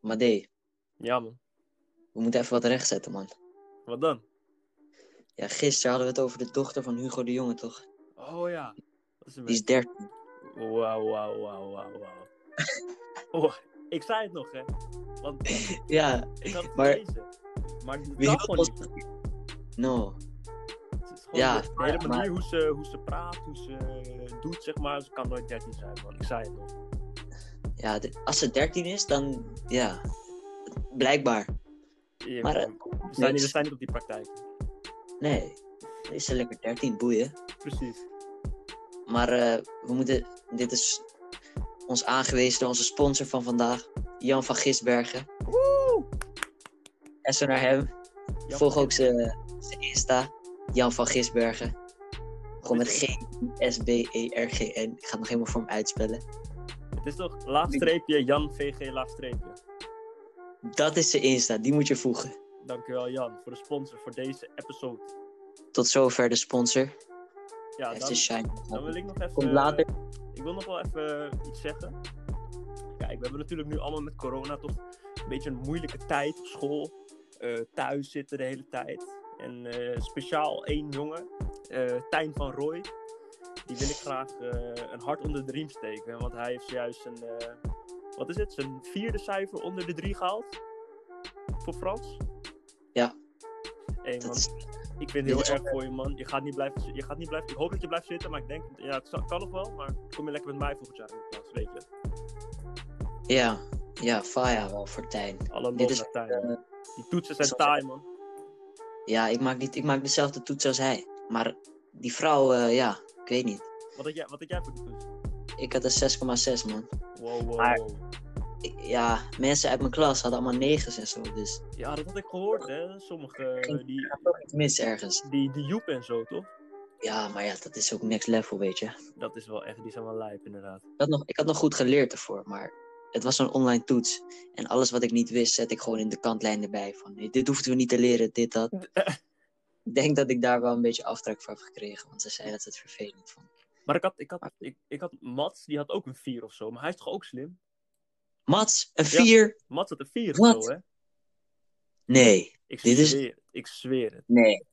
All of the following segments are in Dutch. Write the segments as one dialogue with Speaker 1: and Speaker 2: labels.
Speaker 1: Maar D,
Speaker 2: Ja, man.
Speaker 1: we moeten even wat rechtzetten, man.
Speaker 2: Wat dan?
Speaker 1: Ja, gisteren hadden we het over de dochter van Hugo de Jonge, toch?
Speaker 2: Oh ja. Dat is een
Speaker 1: Die is 13.
Speaker 2: Wauw, wauw, wauw, wauw, wauw. oh, ik zei het nog, hè. Want
Speaker 1: Ja,
Speaker 2: ik had het
Speaker 1: Maar-
Speaker 2: gelezen. Maar het
Speaker 1: wie
Speaker 2: kan
Speaker 1: hield
Speaker 2: gewoon
Speaker 1: ons...
Speaker 2: niet.
Speaker 1: No.
Speaker 2: Het is gewoon
Speaker 1: Ja,
Speaker 2: de hele
Speaker 1: maar-
Speaker 2: manier hoe, ze, hoe ze praat, hoe ze eh, doet, zeg maar. Ze kan nooit 13 zijn, man. Ik zei het nog.
Speaker 1: Ja, de- als ze 13 is, dan... Ja, blijkbaar.
Speaker 2: Ja,
Speaker 1: Maar, eh,
Speaker 2: man. we, zijn niet, we zijn niet op die praktijk.
Speaker 1: Nee, dan is ze lekker 13, boeien.
Speaker 2: Precies.
Speaker 1: Maar eh, we moeten... Dit is ons aangewezen door onze sponsor van vandaag, Jan van Gisbergen.
Speaker 2: Woe!
Speaker 1: En zo naar hem.
Speaker 2: Ja,
Speaker 1: Volg
Speaker 2: man.
Speaker 1: ook zijn zijn Insta, Jan van Gisbergen. Gewoon met E G-S-B-E-R-G-N. Ik ga het nog helemaal voor hem uitspellen.
Speaker 2: Het is toch laagstreepje, Jan VG laagstreepje.
Speaker 1: Dat is zijn Insta, die moet je voegen.
Speaker 2: Dankjewel Jan voor de sponsor voor deze episode.
Speaker 1: Tot zover de sponsor.
Speaker 2: Ja,
Speaker 1: Heeft
Speaker 2: dan,
Speaker 1: zijn shine.
Speaker 2: dan wil ik eh, nog even...
Speaker 1: Komt later.
Speaker 2: Ik wil nog wel even iets zeggen. Kijk, we hebben natuurlijk nu allemaal met corona toch een beetje een moeilijke tijd op school. eh, thuis zitten de hele tijd. En eh, speciaal één jongen, eh, Tijn van Rooij. Die wil ik graag eh, een hart onder de riem steken. Want hij heeft zojuist een, eh, wat is het, zijn vierde cijfer onder de drie gehaald. Voor Frans.
Speaker 1: Ja.
Speaker 2: Hey, man,
Speaker 1: Dat is,
Speaker 2: ik vind
Speaker 1: dit
Speaker 2: het
Speaker 1: is
Speaker 2: heel erg
Speaker 1: ook-
Speaker 2: voor je, man. Je gaat niet blijven, zi- je gaat niet blijven. Ik hoop dat je blijft zitten, maar ik denk, ja, het zal- kan nog wel. Maar kom je lekker met mij volgend jaar in de klas, weet je.
Speaker 1: ja, ja, faya wel voor Tijn.
Speaker 2: Alle
Speaker 1: Dit is-
Speaker 2: losse tijden.
Speaker 1: eh,
Speaker 2: Die toetsen zijn
Speaker 1: sorry.
Speaker 2: taai, man.
Speaker 1: Ja, ik maak, niet, ik maak dezelfde toets als hij. Maar die vrouw, eh, ja, ik weet niet.
Speaker 2: Wat had jij, wat had jij voor die toets?
Speaker 1: Ik had een 6,6 man.
Speaker 2: Wow, wow,
Speaker 1: Maar-
Speaker 2: wow.
Speaker 1: Ik- ja, mensen uit mijn klas hadden allemaal 9's en zo. Dus
Speaker 2: Ja, dat had ik gehoord, hè. Sommige, eh, die,
Speaker 1: ik had toch iets mis ergens.
Speaker 2: die, die Joep en zo, toch?
Speaker 1: Ja, maar ja, dat is ook next level, weet je.
Speaker 2: Dat is wel echt, die zijn wel lijp, inderdaad.
Speaker 1: Ik had, nog, ik had nog goed geleerd ervoor, maar het was zo'n online toets. En alles wat ik niet wist, zet ik gewoon in de kantlijn erbij. Van nee, dit hoefden we niet te leren, dit, dat. ik denk dat ik daar wel een beetje aftrek voor heb gekregen, want ze zei dat ze het vervelend vond.
Speaker 2: Maar ik had, ik had, ik, ik had Mats, die had ook een 4 of zo. Maar hij is toch ook slim?
Speaker 1: Mats, een
Speaker 2: Ja.
Speaker 1: 4?
Speaker 2: Mats had een 4
Speaker 1: Wat?
Speaker 2: of zo, hè.
Speaker 1: Nee,
Speaker 2: Ik
Speaker 1: Dit is-
Speaker 2: zweer, ik zweer het.
Speaker 1: nee.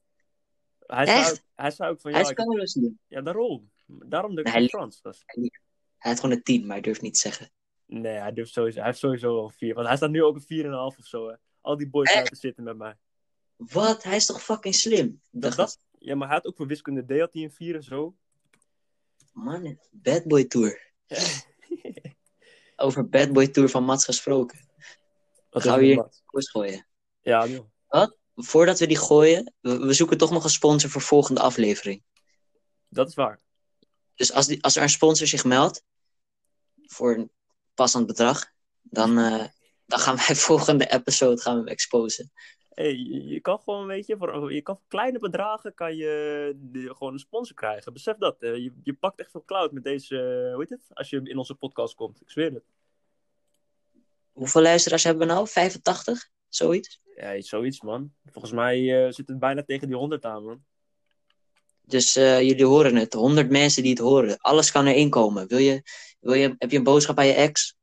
Speaker 2: Hij
Speaker 1: Echt?
Speaker 2: zei, ook- hij zei ook van, ja,
Speaker 1: hij is
Speaker 2: ik,
Speaker 1: dus niet.
Speaker 2: ja daarom. Daarom dat ik
Speaker 1: Nee,
Speaker 2: van Frans was.
Speaker 1: Hij had gewoon een 10, maar hij durft niet te zeggen.
Speaker 2: Nee, hij, durft sowieso, hij heeft sowieso wel een 4. Want hij staat nu ook een 4,5 of zo. Hè. Al die boys
Speaker 1: Echt?
Speaker 2: laten zitten met mij.
Speaker 1: Wat? Hij is toch fucking slim? Ik
Speaker 2: Dat,
Speaker 1: dacht,
Speaker 2: dat, ja, maar hij had ook voor wiskunde D had hij een 4 en zo.
Speaker 1: man, Bad Boy Tour. Over Bad Boy Tour van Mats gesproken.
Speaker 2: Wat
Speaker 1: Gaan
Speaker 2: is
Speaker 1: we
Speaker 2: er
Speaker 1: hier-
Speaker 2: wat?
Speaker 1: Koers gooien.
Speaker 2: Ja, joh.
Speaker 1: Voordat we die gooien, we, we zoeken toch nog een sponsor voor volgende aflevering.
Speaker 2: dat is waar.
Speaker 1: Dus als, die, als er een sponsor zich meldt voor een passend bedrag, dan, eh, dan gaan wij volgende episode gaan we hem exposen.
Speaker 2: Hey, je je kan gewoon, weet je, voor, je kan voor kleine bedragen kan je de- gewoon een sponsor krijgen. Besef dat. eh, je, je pakt echt veel cloud met deze, eh, hoe heet het? Als je in onze podcast komt. Ik zweer het.
Speaker 1: Hoeveel luisteraars hebben we nou? 85? Zoiets?
Speaker 2: Ja, zoiets, man. Volgens mij eh, zit het bijna tegen die 100 aan, man.
Speaker 1: Dus eh, jullie horen het. 100 mensen die het horen. Alles kan erin komen. Wil je, wil je, heb je een boodschap aan je ex?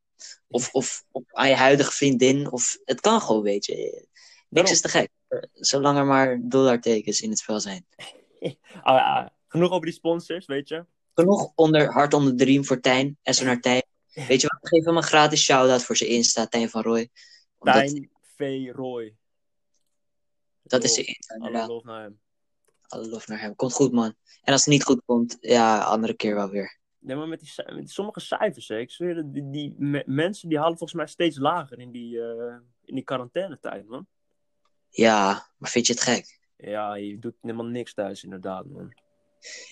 Speaker 1: Of, of, of aan je huidige vriendin? Of, het kan gewoon, weet je. Niks
Speaker 2: Daarom.
Speaker 1: is te gek. Eh, Zolang er maar dollartekens in het spel zijn.
Speaker 2: Ah, ja, genoeg over die sponsors, weet je.
Speaker 1: genoeg onder, hard onder de riem voor Tijn. En zo naar Tijn. Weet je wat? We geven hem een gratis shout-out voor zijn Insta, Tijn van Roy. Omdat
Speaker 2: Tijn V. Roy.
Speaker 1: Dat is
Speaker 2: Lol.
Speaker 1: zijn Insta,
Speaker 2: Alle
Speaker 1: inderdaad.
Speaker 2: lof naar hem.
Speaker 1: Alle lof naar hem. Komt goed, man. En als het niet goed komt, ja, andere keer wel weer.
Speaker 2: Nee, maar met, die, ci- met sommige cijfers, hè, ik zweer, het, die, die me- mensen die halen volgens mij steeds lager in die, eh in die quarantainetijd, man.
Speaker 1: Ja, maar vind je het gek?
Speaker 2: Ja, je doet helemaal niks thuis, inderdaad, man.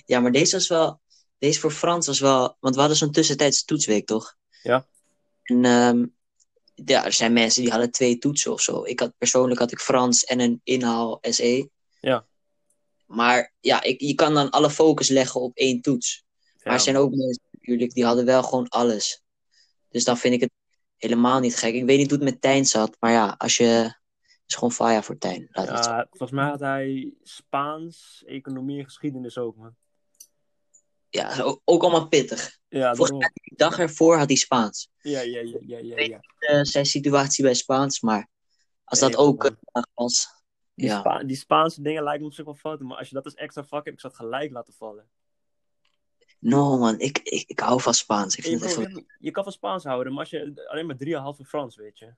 Speaker 1: Ja, maar deze was wel... Deze voor Frans was wel... Want we hadden zo'n tussentijdse toetsweek, toch?
Speaker 2: Ja.
Speaker 1: En ehm, ja, er zijn mensen die hadden twee toetsen of zo. Ik had, persoonlijk had ik Frans en een inhaal SE.
Speaker 2: Ja.
Speaker 1: Maar ja, ik, je kan dan alle focus leggen op één toets. Maar
Speaker 2: Ja,
Speaker 1: er zijn ook mensen natuurlijk, die hadden wel gewoon alles. Dus dan vind ik het helemaal niet gek. Ik weet niet hoe het met Tijn zat, maar ja, als je... Het is gewoon faya voor Tijn. Laat het zo.
Speaker 2: ja, volgens mij had hij Spaans, economie en geschiedenis ook, man.
Speaker 1: ja, o- ook allemaal pittig.
Speaker 2: Ja,
Speaker 1: Volgens
Speaker 2: daarom.
Speaker 1: mij die dag ervoor had hij Spaans.
Speaker 2: ja, ja, ja, ja, ja, ja.
Speaker 1: Eh, zijn situatie bij Spaans, maar als dat
Speaker 2: Nee,
Speaker 1: ook
Speaker 2: man.
Speaker 1: eh, was.
Speaker 2: Die,
Speaker 1: Ja.
Speaker 2: Spa- die Spaanse dingen lijken me op zich wel fout, maar als je dat als extra vak hebt, ik zou het gelijk laten vallen.
Speaker 1: No man, ik, ik, ik hou van Spaans. Ik
Speaker 2: Hey,
Speaker 1: vind het echt
Speaker 2: bro,
Speaker 1: wel...
Speaker 2: je, je kan van Spaans houden, maar als je alleen maar 3,5 Frans, weet je.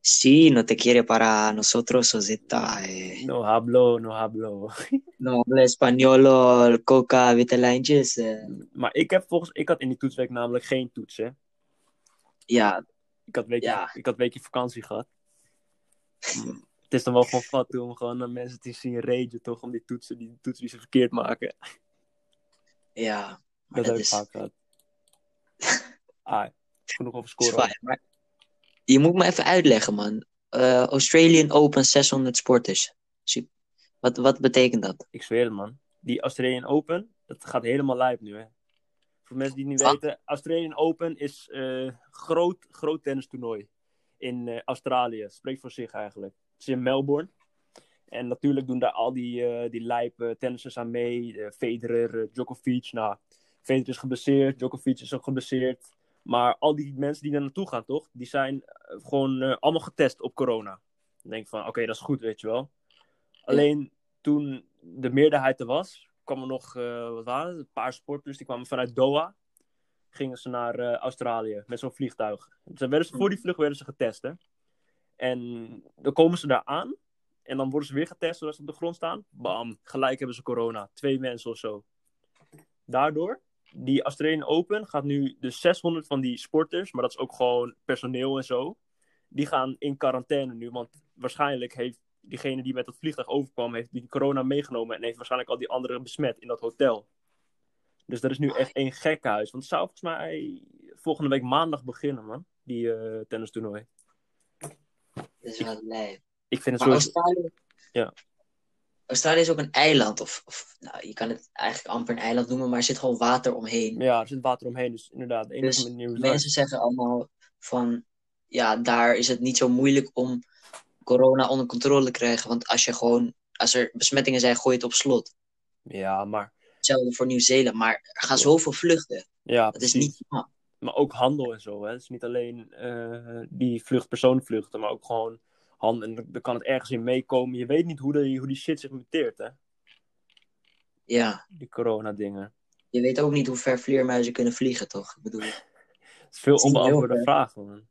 Speaker 1: Sí, no te quiere para nosotros, Zeta. eh.
Speaker 2: No hablo, no hablo.
Speaker 1: No, habla español, coca, witte lijntjes. eh.
Speaker 2: Maar ik heb volgens, ik had in die toetsweek namelijk geen toets, hè.
Speaker 1: Ja,
Speaker 2: Ik had weekje,
Speaker 1: Ja.
Speaker 2: ik had weekje vakantie gehad. Mm. Het is dan wel gewoon fat om gewoon naar mensen te zien ragen, toch? Om die toetsen, die toetsen die ze verkeerd maken.
Speaker 1: ja. Maar dat
Speaker 2: Dat, heb ik
Speaker 1: is,
Speaker 2: vaak gehad. Ah, genoeg over
Speaker 1: is
Speaker 2: scoren.
Speaker 1: fijn, maar je moet me even uitleggen, man. Eh, Australian Open 600 sporters. Sup- Wat, wat betekent dat?
Speaker 2: Ik zweer het, man. Die Australian Open, dat gaat helemaal lijp nu, hè. Voor mensen die het niet
Speaker 1: Ah.
Speaker 2: weten, Australian Open is eh groot, groot tennistoernooi in eh, Australië. Spreekt voor zich eigenlijk. Het is in Melbourne. En natuurlijk doen daar al die, eh die lijpe tennissers aan mee. Eh, Federer, eh, Djokovic. Nou, Federer is geblesseerd, Djokovic is ook geblesseerd. Maar al die mensen die daar naartoe gaan, toch? Die zijn eh, gewoon eh, allemaal getest op corona. Dan denk ik van, oké, dat is goed, weet je wel. Alleen toen de meerderheid er was, kwam er nog, eh, wat waren het? Een paar sporters, die kwamen vanuit Doha. Gingen ze naar eh, Australië met zo'n vliegtuig. Ze werden ze, voor die vlucht werden ze getest, hè. En dan komen ze daar aan. En dan worden ze weer getest zodat ze op de grond staan. Bam, gelijk hebben ze corona. Twee mensen of zo. Daardoor, die Australian Open gaat nu de 600 van die sporters, maar dat is ook gewoon personeel en zo. Die gaan in quarantaine nu, want waarschijnlijk heeft diegene die met dat vliegtuig overkwam, heeft die corona meegenomen en heeft waarschijnlijk al die anderen besmet in dat hotel. Dus er is nu echt één gekkenhuis. Want het zou volgens mij eh, volgende week maandag beginnen, man. Die eh tennistoernooi.
Speaker 1: Dat is wel lijp.
Speaker 2: Ik vind het
Speaker 1: Maar
Speaker 2: zo...
Speaker 1: Australië...
Speaker 2: Ja.
Speaker 1: Australië is ook een eiland. Of, of, nou, je kan het eigenlijk amper een eiland noemen, maar er zit gewoon water omheen.
Speaker 2: Ja, er zit water omheen, dus inderdaad, de enige
Speaker 1: Dus
Speaker 2: manier hoe het werkt.
Speaker 1: Mensen zeggen allemaal van... Ja, daar is het niet zo moeilijk om corona onder controle te krijgen. Want als je gewoon... Als er besmettingen zijn, gooi je het op slot.
Speaker 2: Ja, maar...
Speaker 1: Hetzelfde voor Nieuw-Zeeland. Maar er gaan zoveel vluchten.
Speaker 2: Ja,
Speaker 1: Dat is
Speaker 2: precies.
Speaker 1: niet normaal.
Speaker 2: Maar ook handel en zo, hè. Het is niet alleen eh, die vlucht persoonvluchten, maar ook gewoon handel. En dan- dan kan het ergens in meekomen. Je weet niet hoe, de, hoe die shit zich muteert, hè.
Speaker 1: Ja.
Speaker 2: Die corona-dingen.
Speaker 1: Je weet ook niet hoe ver vleermuizen kunnen vliegen, toch? Ik bedoel...
Speaker 2: Het is veel
Speaker 1: Het is niet heel
Speaker 2: onbeantwoorde
Speaker 1: ver.
Speaker 2: vragen, man.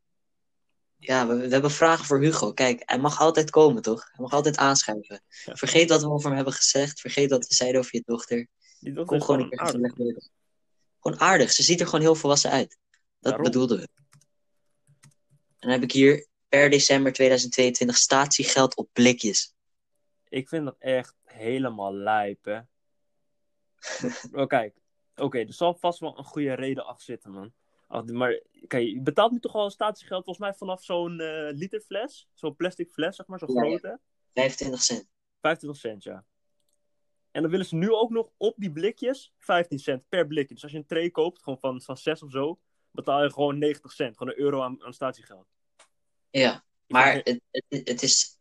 Speaker 1: Ja, we, we hebben vragen voor Hugo. Kijk, hij mag altijd komen, toch? Hij mag altijd aanschuiven.
Speaker 2: Ja.
Speaker 1: Vergeet wat we over hem hebben gezegd. Vergeet wat we zeiden over je dochter.
Speaker 2: Die dochter
Speaker 1: Kom
Speaker 2: is
Speaker 1: gewoon een keer
Speaker 2: gewoon aardig.
Speaker 1: gezellig weer. Gewoon aardig. Ze ziet er gewoon heel volwassen uit. Dat
Speaker 2: Daarom.
Speaker 1: bedoelden we. En dan heb ik hier per december 2022 statiegeld op blikjes.
Speaker 2: Ik vind dat echt helemaal lijp, hè. Maar kijk, oké, er zal vast wel een goede reden achter zitten, man. Ach, maar kijk, je betaalt nu toch al statiegeld volgens mij vanaf zo'n eh literfles? Zo'n plastic fles, zeg maar, zo'n
Speaker 1: Ja, ja.
Speaker 2: grote.
Speaker 1: 25 cent.
Speaker 2: 25 cent, ja. En dan willen ze nu ook nog op die blikjes 15 cent per blikje. Dus als je een tray koopt, gewoon van, van 6 of zo, betaal je gewoon 90 cent. Gewoon een euro aan, aan statiegeld.
Speaker 1: Ja,
Speaker 2: Ik
Speaker 1: maar
Speaker 2: vind-
Speaker 1: het, het, het, is,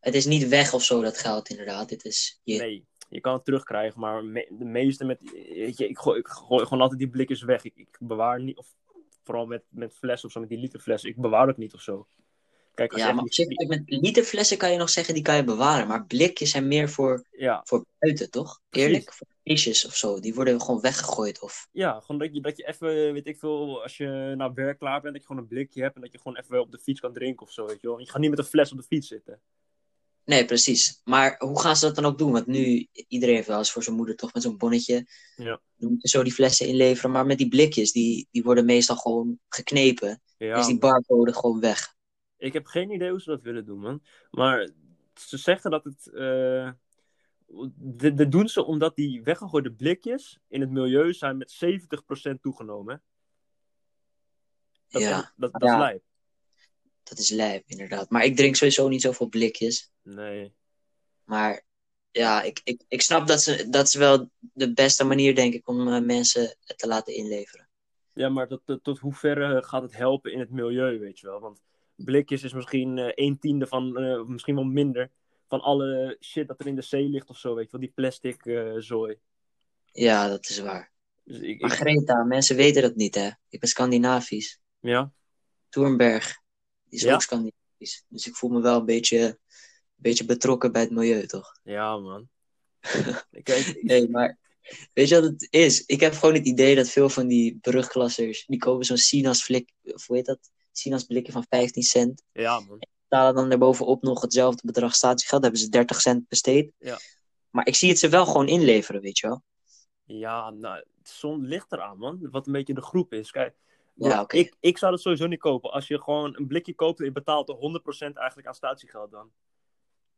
Speaker 1: het is niet weg of zo, dat geld inderdaad. Het is je.
Speaker 2: Nee, je kan het terugkrijgen, maar me- de meeste met... Weet je, ik, gooi, ik gooi gewoon altijd die blikjes weg. Ik, ik bewaar niet, of vooral met, met fles of zo, met die literfles. Ik bewaar het niet of zo. Kijk, als je
Speaker 1: ja,
Speaker 2: echt
Speaker 1: maar op
Speaker 2: die-
Speaker 1: zich, kijk, met literflessen kan je nog zeggen, die kan je bewaren. Maar blikjes zijn meer voor
Speaker 2: die- ja,
Speaker 1: voor buiten, toch?
Speaker 2: Precies.
Speaker 1: Eerlijk, voor feestjes of zo. Die worden gewoon weggegooid. Of...
Speaker 2: ja, gewoon dat je, dat je even, weet ik veel, als je naar werk klaar bent, dat je gewoon een blikje hebt en dat je gewoon even op de fiets kan drinken of zo, weet je wel. Je gaat niet met een fles op de fiets zitten.
Speaker 1: Nee, precies. Maar hoe gaan ze dat dan ook doen? Want nu, iedereen heeft wel eens voor zijn moeder toch met zo'n bonnetje.
Speaker 2: Ja.
Speaker 1: Dan moet je zo die flessen inleveren. Maar met die blikjes, die, die worden meestal gewoon geknepen.
Speaker 2: Ja,
Speaker 1: Dus die barcode gewoon weg.
Speaker 2: Ik heb geen idee hoe ze dat willen doen, man. Maar ze zeggen dat het. eh, dit, dit doen ze omdat die weggegooide blikjes in het milieu zijn met 70% toegenomen. hè. Dat,
Speaker 1: Ja,
Speaker 2: dat, dat
Speaker 1: Ja.
Speaker 2: is lijp.
Speaker 1: dat is lijp, inderdaad. Maar ik drink sowieso niet zoveel blikjes.
Speaker 2: Nee.
Speaker 1: Maar ja, ik, ik, ik snap dat ze, dat ze wel de beste manier, denk ik, om eh, mensen het te laten inleveren.
Speaker 2: Ja, maar tot, tot, tot hoeverre gaat het helpen in het milieu, weet je wel? Want blikjes is misschien eh een tiende van, eh, of misschien wel minder, van alle shit dat er in de zee ligt of zo, weet je wel? Die plastic eh, zooi.
Speaker 1: Ja, dat is waar.
Speaker 2: Dus ik,
Speaker 1: Maar
Speaker 2: ik-
Speaker 1: Greta, mensen weten dat niet, hè? Ik ben Scandinavisch.
Speaker 2: ja.
Speaker 1: Thunberg is
Speaker 2: Ja.
Speaker 1: ook Scandinavisch. Dus ik voel me wel een beetje, een beetje betrokken bij het milieu, toch?
Speaker 2: ja, man. Kijk,
Speaker 1: Nee, maar weet je wat het is? Ik heb gewoon het idee dat veel van die brugklassers, die kopen zo'n sinaasplik, of hoe heet dat? Sinaasplikje van 15 cent.
Speaker 2: ja, man.
Speaker 1: Betalen dan daarbovenop nog hetzelfde bedrag statiegeld. Hebben ze 30 cent besteed.
Speaker 2: Ja.
Speaker 1: Maar ik zie het ze wel gewoon inleveren, weet je wel?
Speaker 2: Ja, nou, het zon ligt eraan, man. Wat een beetje de groep is. Kijk,
Speaker 1: Ja,
Speaker 2: want
Speaker 1: oké.
Speaker 2: ik, ik zou dat sowieso niet kopen. Als je gewoon een blikje koopt en je betaalt er 100% eigenlijk aan statiegeld dan.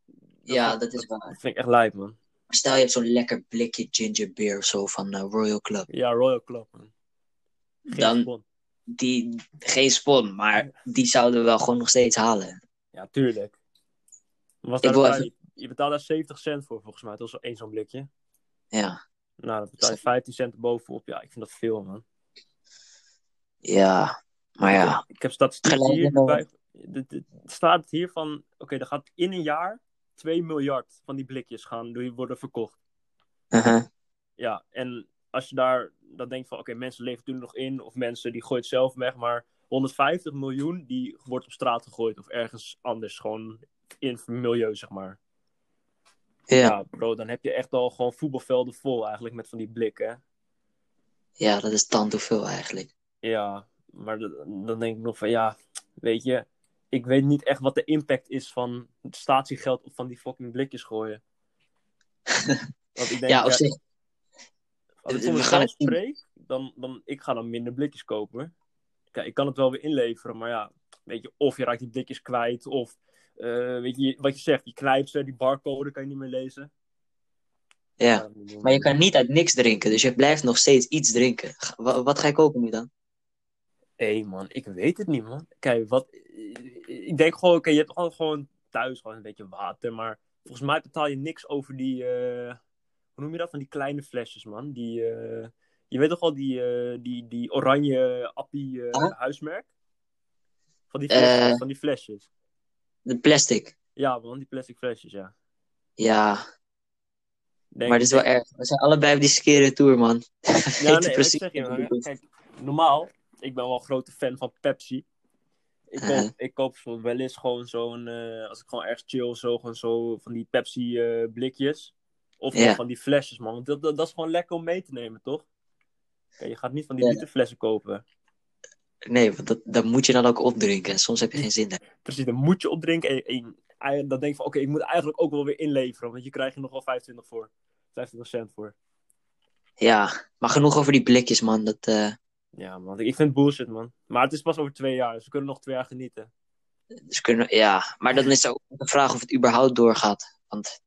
Speaker 2: Dat
Speaker 1: Ja,
Speaker 2: vind-
Speaker 1: dat is waar.
Speaker 2: Dat vind ik echt lijp, man.
Speaker 1: Maar Stel je hebt zo'n lekker blikje ginger beer of zo van eh, Royal Club.
Speaker 2: Ja, Royal Club, man. Geen
Speaker 1: Dan-
Speaker 2: spon.
Speaker 1: die geen spon, maar die zouden we wel gewoon nog steeds halen.
Speaker 2: Ja, tuurlijk. Was
Speaker 1: Ik
Speaker 2: daar
Speaker 1: wil
Speaker 2: een paar-
Speaker 1: even-
Speaker 2: Je betaalt daar 70 cent voor, volgens mij. Dat was één zo'n blikje.
Speaker 1: Ja,
Speaker 2: Nou, dan betaal je 15 cent bovenop. Ja, ik vind dat veel, man.
Speaker 1: ja, maar ja,
Speaker 2: Ik heb statistieken
Speaker 1: Gelijk
Speaker 2: hier.
Speaker 1: wel.
Speaker 2: bij- dit- dit- Het staat hier van... Oké, er gaat in een jaar 2 miljard van die blikjes gaan die worden verkocht.
Speaker 1: uh-huh.
Speaker 2: Ja, en als je daar dan denkt van... Oké, mensen leven toen nog in. Of mensen die gooien het zelf weg. Maar 150 miljoen die wordt op straat gegooid. Of ergens anders. Gewoon in het milieu, zeg maar.
Speaker 1: ja,
Speaker 2: Ja, bro, dan heb je echt al gewoon voetbalvelden vol eigenlijk met van die blikken.
Speaker 1: ja, dat is tant hoeveel eigenlijk.
Speaker 2: Ja, maar d- dan denk ik nog van ja, weet je, ik weet niet echt wat de impact is van het statiegeld op van die fucking blikjes gooien. Want ik denk,
Speaker 1: ja, op
Speaker 2: ja,
Speaker 1: zich,
Speaker 2: als ik
Speaker 1: Eh, we
Speaker 2: voor
Speaker 1: gaan
Speaker 2: mezelf
Speaker 1: het zien.
Speaker 2: spreek, dan, dan ik ga dan minder blikjes kopen. Kijk, ik kan het wel weer inleveren, maar ja, weet je, of je raakt die blikjes kwijt, of eh, weet je, wat je zegt, die knijpt ze, die barcode kan je niet meer lezen.
Speaker 1: ja.
Speaker 2: dat moet doen.
Speaker 1: Maar je kan niet uit niks drinken, dus je blijft nog steeds iets drinken. Ga- wa- wat ga ik kopen nu dan?
Speaker 2: Hé man, ik weet het niet man. Kijk, wat, eh, ik denk gewoon, oké, je hebt gewoon, gewoon thuis gewoon een beetje water, maar volgens mij betaal je niks over die, eh, hoe noem je dat, van die kleine flesjes man. Die, eh, je weet toch al die, eh, die, die oranje appie eh,
Speaker 1: Ja.
Speaker 2: huismerk? Van die, flesjes,
Speaker 1: Eh.
Speaker 2: van die flesjes.
Speaker 1: De plastic.
Speaker 2: Ja man, die plastic flesjes, ja.
Speaker 1: Ja,
Speaker 2: Denk,
Speaker 1: maar dat is wel
Speaker 2: denk-
Speaker 1: erg. We zijn allebei op die skere tour, man.
Speaker 2: Ja, nee,
Speaker 1: Weet je
Speaker 2: maar ik zeg je,
Speaker 1: wat
Speaker 2: maar,
Speaker 1: ik bedoel.
Speaker 2: kijk, normaal, ik ben wel een grote fan van Pepsi. Ik koop,
Speaker 1: Uh-huh.
Speaker 2: ik koop zo wel eens gewoon zo'n, eh, als ik gewoon ergens chill, zo, gewoon zo van die Pepsi eh, blikjes. Of
Speaker 1: Ja.
Speaker 2: van die flesjes, man. Want dat, dat, dat is gewoon lekker om mee te nemen, toch? Kijk, je gaat niet van die
Speaker 1: Ja.
Speaker 2: literflessen kopen.
Speaker 1: Nee, want dat, dat moet je dan ook opdrinken en soms heb je geen zin daar.
Speaker 2: Precies, dan moet je opdrinken. En, en, en dan denk je van, oké, ik moet eigenlijk ook wel weer inleveren. Want je krijgt er nog wel 25 voor. 25 cent voor.
Speaker 1: Ja, maar genoeg over die blikjes, man. Dat, eh,
Speaker 2: Ja, man. Ik vind het bullshit, man. Maar het is pas over twee jaar. Dus we kunnen nog twee jaar genieten.
Speaker 1: dus kunnen, ja. Maar dan is er ook de vraag of het überhaupt doorgaat. Want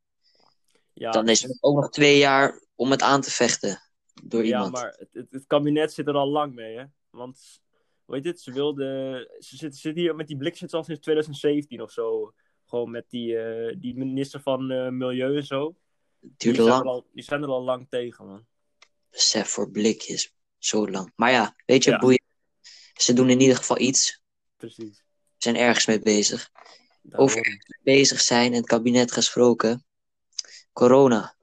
Speaker 2: Ja,
Speaker 1: Dan is het ook nog twee jaar om het aan te vechten door
Speaker 2: Ja,
Speaker 1: iemand.
Speaker 2: maar het, het, het kabinet zit er al lang mee, hè? Want, weet je het, ze wilden... Ze zitten zit hier met die blik zitten ze al sinds 2017 of zo. Gewoon met die, eh, die minister van eh, Milieu en zo.
Speaker 1: Het
Speaker 2: Die
Speaker 1: duurde
Speaker 2: zijn,
Speaker 1: lang.
Speaker 2: er al, die zijn er al lang tegen, man.
Speaker 1: Besef voor blikjes. Zo lang. Maar ja, weet je,
Speaker 2: Ja.
Speaker 1: boeien. Ze doen in ieder geval iets.
Speaker 2: Precies.
Speaker 1: Ze zijn ergens mee bezig.
Speaker 2: Daarom.
Speaker 1: Over- Bezig zijn en het kabinet gesproken. Corona.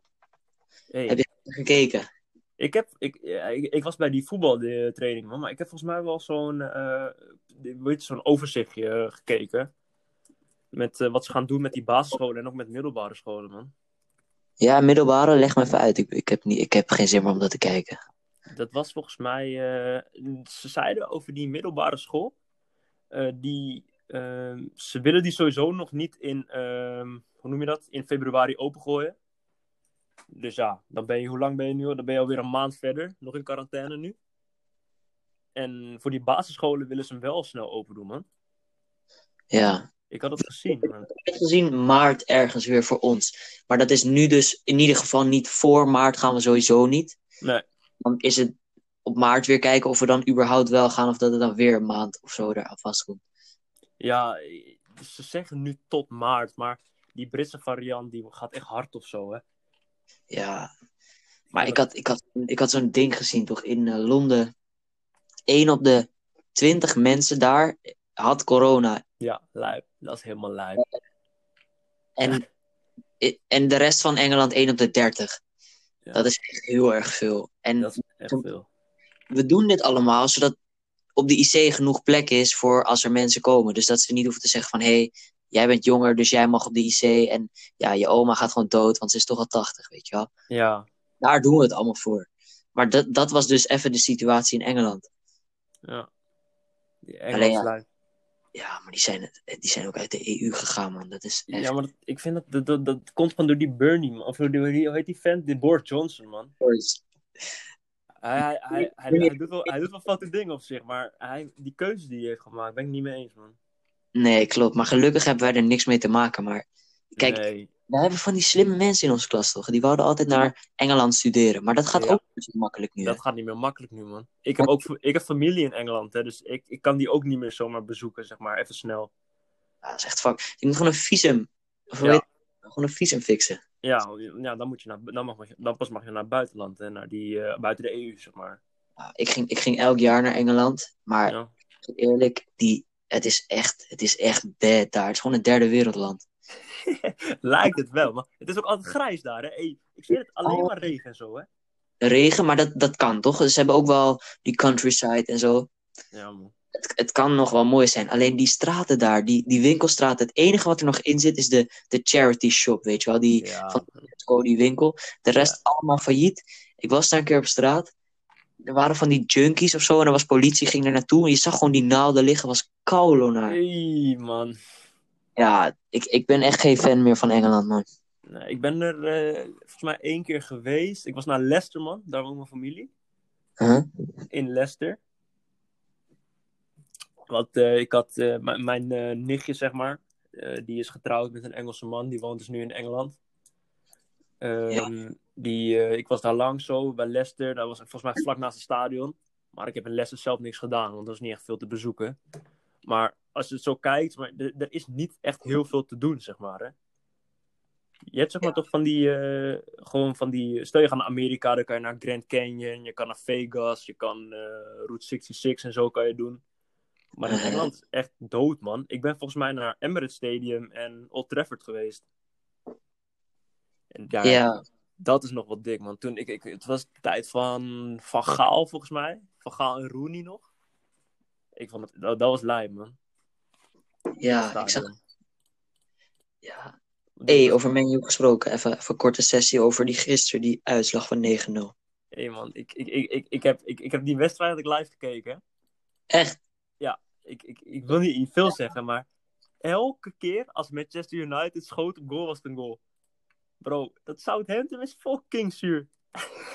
Speaker 2: Hey,
Speaker 1: Heb je- Gekeken.
Speaker 2: ik, heb, ik, ja, ik, ik was bij die voetbaltraining, man. Maar ik heb volgens mij wel zo'n eh, weet je, zo'n overzichtje eh, gekeken. Met eh, wat ze gaan doen met die basisscholen en ook met middelbare scholen, man.
Speaker 1: Ja, middelbare, leg me even uit. Ik, ik, heb niet, ik heb geen zin meer om dat te kijken.
Speaker 2: Dat was volgens mij. eh, ze zeiden over die middelbare school. eh, die, ehm, ze willen die sowieso nog niet in. ehm, hoe noem je dat? In februari opengooien. Dus ja, dan ben je. Hoe lang ben je nu? al? Dan ben je alweer een maand verder. Nog in quarantaine nu. En voor die basisscholen willen ze hem wel snel open doen, man.
Speaker 1: Ja.
Speaker 2: Ik had het gezien. man.
Speaker 1: Ik heb gezien maart ergens weer voor ons. Maar dat is nu dus in ieder geval niet voor maart gaan we sowieso niet.
Speaker 2: Nee.
Speaker 1: dan is het op maart weer kijken of we dan überhaupt wel gaan of dat het dan weer een maand of zo daar vast komt.
Speaker 2: Ja, ze zeggen nu tot maart. Maar die Britse variant die gaat echt hard of zo, hè?
Speaker 1: Ja. Maar ik had, ik had, ik had zo'n ding gezien toch in eh, Londen. 1 op de 20 mensen daar had corona.
Speaker 2: Ja, lijp. Dat is helemaal lijp.
Speaker 1: En, en de rest van Engeland 1 op de 30.
Speaker 2: Ja.
Speaker 1: Dat is echt heel erg veel. En
Speaker 2: Dat is echt veel.
Speaker 1: we doen dit allemaal zodat op de IC genoeg plek is voor als er mensen komen. Dus dat ze niet hoeven te zeggen van... hé, hey, jij bent jonger, dus jij mag op de IC. En ja, je oma gaat gewoon dood, want ze is toch al 80, weet je wel.
Speaker 2: Ja,
Speaker 1: Daar doen we het allemaal voor. Maar dat, dat was dus even de situatie in Engeland.
Speaker 2: ja. Die
Speaker 1: Alleen ja.
Speaker 2: Engelslui.
Speaker 1: Ja, maar die zijn, het- die zijn ook uit de EU gegaan, man. Dat is echt...
Speaker 2: Ja, maar dat- ik vind dat dat, dat dat komt van door die Bernie, man. Of door die, hoe heet die vent? Die Boris Johnson, man. Hij, hij, hij, hij, hij doet wel, hij doet wel foute dingen op zich, maar hij, die keuze die hij heeft gemaakt, ben ik niet mee eens, man.
Speaker 1: Nee, klopt. Maar gelukkig hebben wij er niks mee te maken. Maar kijk,
Speaker 2: Nee.
Speaker 1: we hebben van die slimme mensen in onze klas, toch? Die wouden altijd naar Engeland studeren. Maar dat gaat
Speaker 2: Ja.
Speaker 1: ook niet zo makkelijk nu. hè?
Speaker 2: Dat gaat niet meer makkelijk nu, man. Ik heb ook ik heb familie in Engeland, hè, dus ik, ik kan die ook niet meer zomaar bezoeken, zeg maar, even snel.
Speaker 1: Ja, dat is echt fuck. Je moet gewoon een visum. Of hoe
Speaker 2: Ja.
Speaker 1: heet het? Gewoon een visum fixen.
Speaker 2: Ja, ja dan, moet je naar, dan, mag je, dan pas mag je naar het buitenland, hè, naar die, eh, buiten de EU, zeg maar.
Speaker 1: Nou, ik, ging, ik ging elk jaar naar Engeland. Maar
Speaker 2: Ja.
Speaker 1: eerlijk, die, het, is echt, het is echt dead daar. Het is gewoon een derde wereldland.
Speaker 2: Lijkt het wel, maar het is ook altijd grijs daar, hè. Hey, ik zie het
Speaker 1: Oh.
Speaker 2: alleen maar regen en zo, hè.
Speaker 1: Regen, maar dat, dat kan toch? Ze hebben ook wel die countryside en zo.
Speaker 2: Ja, man.
Speaker 1: het, het kan nog wel mooi zijn. Alleen die straten daar, die, die winkelstraten, het enige wat er nog in zit is de, de charity shop, weet je wel. Die
Speaker 2: Ja,
Speaker 1: van- Cody winkel. De rest allemaal failliet. Ik was daar een keer op straat. Er waren van die junkies of zo en er was politie, ging er naartoe. En je zag gewoon die naalden liggen, was koulo naar.
Speaker 2: Hey, man.
Speaker 1: Ja, ik, ik ben echt geen fan meer van Engeland, man.
Speaker 2: Nee, Nou, ik ben er eh, volgens mij één keer geweest. Ik was naar Leicester, man. Daar woont mijn familie.
Speaker 1: Huh?
Speaker 2: In Leicester. Want eh, ik had eh, mijn- mijn eh, nichtje, zeg maar. eh, die is getrouwd met een Engelse man. Die woont dus nu in Engeland. Ehm, die, eh, ik was daar lang zo bij Leicester. Dat was volgens mij vlak naast het stadion. Maar ik heb in Leicester zelf niks gedaan. Want er is niet echt veel te bezoeken. Maar als je het zo kijkt. Maar er er is niet echt heel veel te doen, zeg maar. Hè? Je hebt zeg maar toch van die, eh, gewoon van die, stel je gaat naar Amerika, dan kan je naar Grand Canyon, je kan naar Vegas, je kan eh, Route 66 en zo kan je doen. Maar in
Speaker 1: Eh.
Speaker 2: Engeland is echt dood, man. Ik ben volgens mij naar Emirates Stadium en Old Trafford geweest. En ja,
Speaker 1: Ja,
Speaker 2: dat is nog wat dik, man. Toen ik, ik, het was de tijd van Van Gaal, volgens mij. Van Gaal en Rooney nog. Ik vond het, dat, dat was lijp, man.
Speaker 1: ja,
Speaker 2: Stadion.
Speaker 1: ik zag... Ja. Hey, over Man U gesproken. Even, even een korte sessie over die gisteren, die uitslag van 9-0.
Speaker 2: Hey man, ik, ik, ik, ik, ik, heb, ik, ik heb die wedstrijd had ik live gekeken. hè.
Speaker 1: Echt?
Speaker 2: Ik, ik, ik wil niet veel zeggen, maar elke keer als Manchester United schoot op goal was het een goal. Bro, dat Southampton is fucking zuur.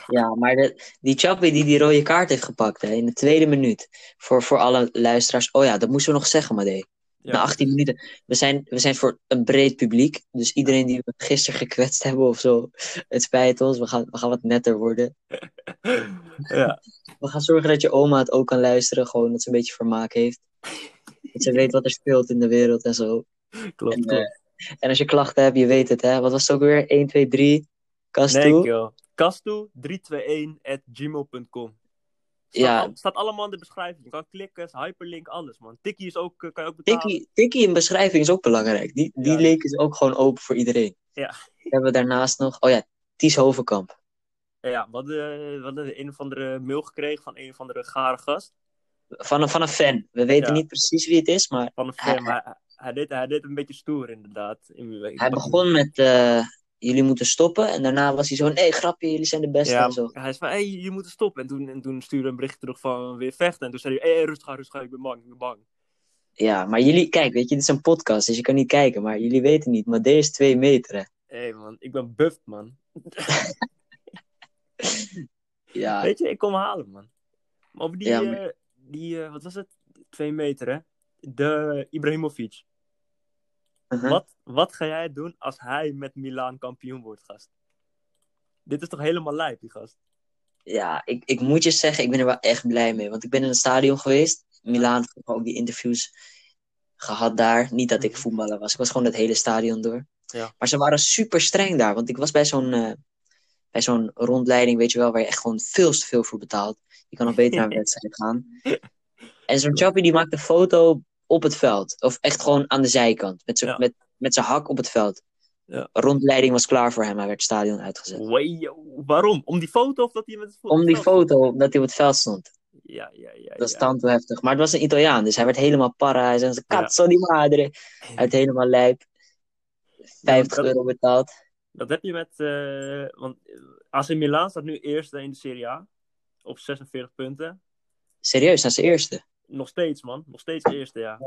Speaker 1: Ja, maar de- die Chappie die die rode kaart heeft gepakt hè, in de tweede minuut. Voor, voor alle luisteraars. Oh ja, dat moesten we nog zeggen, Madee.
Speaker 2: Ja.
Speaker 1: Na 18 minuten. We zijn, we zijn voor een breed publiek. Dus iedereen die we gisteren gekwetst hebben of zo. Het spijt ons. We gaan, we gaan wat netter worden.
Speaker 2: ja,
Speaker 1: We gaan zorgen dat je oma het ook kan luisteren. Gewoon dat ze een beetje vermaak heeft. Dat ze weet wat er speelt in de wereld en zo.
Speaker 2: klopt.
Speaker 1: En, eh,
Speaker 2: klopt.
Speaker 1: En als je klachten hebt, je weet het hè. Wat was het ook weer? 1, 2, 3. Kast
Speaker 2: nee,
Speaker 1: toe.
Speaker 2: joh. Kastu321 at gmail.com. Staat,
Speaker 1: Ja.
Speaker 2: al- staat allemaal in de beschrijving. Je kan klikken, is hyperlink, alles man. Tikkie is ook, eh, kan je ook betalen.
Speaker 1: Tikkie, tikkie in beschrijving is ook belangrijk. Die, die
Speaker 2: Ja.
Speaker 1: link is ook gewoon open voor iedereen.
Speaker 2: Ja.
Speaker 1: Dan Hebben we daarnaast nog... Oh ja, Ties Hovenkamp.
Speaker 2: Ja, we hadden, eh, we hadden een of andere mail gekregen van een of andere gare gast.
Speaker 1: Van een, van een fan. We weten
Speaker 2: Ja.
Speaker 1: niet precies wie het is, maar...
Speaker 2: van een
Speaker 1: Hij-
Speaker 2: fan, maar hij, hij deed, hij deed een beetje stoer inderdaad. In- ik
Speaker 1: Hij
Speaker 2: pak-
Speaker 1: begon met... eh, jullie moeten stoppen. En daarna was hij zo... Nee, grapje, jullie zijn de beste
Speaker 2: ja,
Speaker 1: en zo.
Speaker 2: hij is van, hey, je moet stoppen. En toen, en toen stuurde hij een bericht terug van weer vechten. En toen zei hij, hey, rustig aan, rustig aan, ik ben bang, ik ben bang.
Speaker 1: Ja, maar jullie... Kijk, weet je, dit is een podcast, dus je kan niet kijken. Maar jullie weten niet, maar deze is twee meter, hè.
Speaker 2: Hé man, ik ben buffed man.
Speaker 1: Ja,
Speaker 2: Weet je, ik kom halen man. Maar over die,
Speaker 1: Ja, maar-
Speaker 2: eh, die eh, wat was het? Twee meter hè? De Ibrahimovic.
Speaker 1: uh-huh.
Speaker 2: Wat, wat ga jij doen als hij met Milaan kampioen wordt, gast? Dit is toch helemaal lijp, die gast?
Speaker 1: ja ik, ik moet je zeggen, ik ben er wel echt blij mee. Want ik ben in het stadion geweest. Milaan, ik heb ook die interviews gehad daar. Niet dat ik
Speaker 2: Mhm.
Speaker 1: voetballer was. Ik was gewoon het hele stadion door.
Speaker 2: Ja.
Speaker 1: Maar ze waren super streng daar. Want ik was bij zo'n eh, bij zo'n rondleiding, weet je wel, waar je echt gewoon veel te veel voor betaalt. Je kan nog beter naar een wedstrijd gaan. En zo'n chappie die maakt een foto op het veld. Of echt gewoon aan de zijkant. Met zijn
Speaker 2: Ja.
Speaker 1: met, met zijn hak op het veld.
Speaker 2: Ja.
Speaker 1: Rondleiding was klaar voor hem, hij werd het stadion uitgezet.
Speaker 2: Wayo. Waarom? Om die foto of dat hij met het voet-
Speaker 1: Om die foto dat hij op het veld stond.
Speaker 2: Ja, ja, ja.
Speaker 1: Dat is
Speaker 2: ja.
Speaker 1: tanto heftig. Maar het was een Italiaan, dus hij werd helemaal para. Hij zei, cazzo di madre. Uit helemaal lijp. 50
Speaker 2: dat-
Speaker 1: euro betaald.
Speaker 2: Dat heb je met. eh, want AC Milan staat nu eerste in de Serie A. Op 46 punten.
Speaker 1: Serieus, dat is de eerste.
Speaker 2: Nog steeds, man. Nog steeds eerste, ja.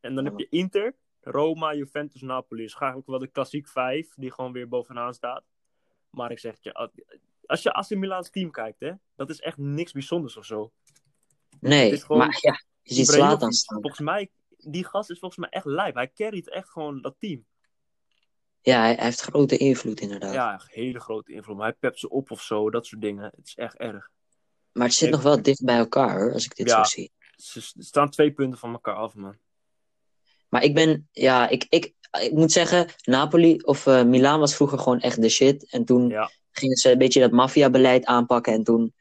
Speaker 2: En dan heb je Inter, Roma, Juventus, Napoli. Dus eigenlijk wel de klassiek vijf die gewoon weer bovenaan staat. Maar ik zeg het je, als- als je AC Milan's team kijkt, hè, dat is echt niks bijzonders of zo. Het
Speaker 1: Nee,
Speaker 2: is gewoon-
Speaker 1: maar ja, je ziet
Speaker 2: Ibrahimovic,
Speaker 1: Zlatan staan.
Speaker 2: Volgens mij, die gast is volgens mij echt lijp. Hij carryt echt gewoon dat team.
Speaker 1: Ja, hij, hij heeft grote invloed inderdaad.
Speaker 2: Ja, hele grote invloed. Maar hij pept ze op of zo, dat soort dingen. Het is echt erg.
Speaker 1: Maar het zit nog wel dicht bij elkaar hoor, als ik dit
Speaker 2: Ja.
Speaker 1: zo zie.
Speaker 2: Ze s- staan twee punten van elkaar af, man.
Speaker 1: Maar ik ben, ja, ik, ik, ik moet zeggen, Napoli of eh Milaan was vroeger gewoon echt de shit. En toen
Speaker 2: Ja.
Speaker 1: gingen ze een beetje dat maffiabeleid aanpakken. En toen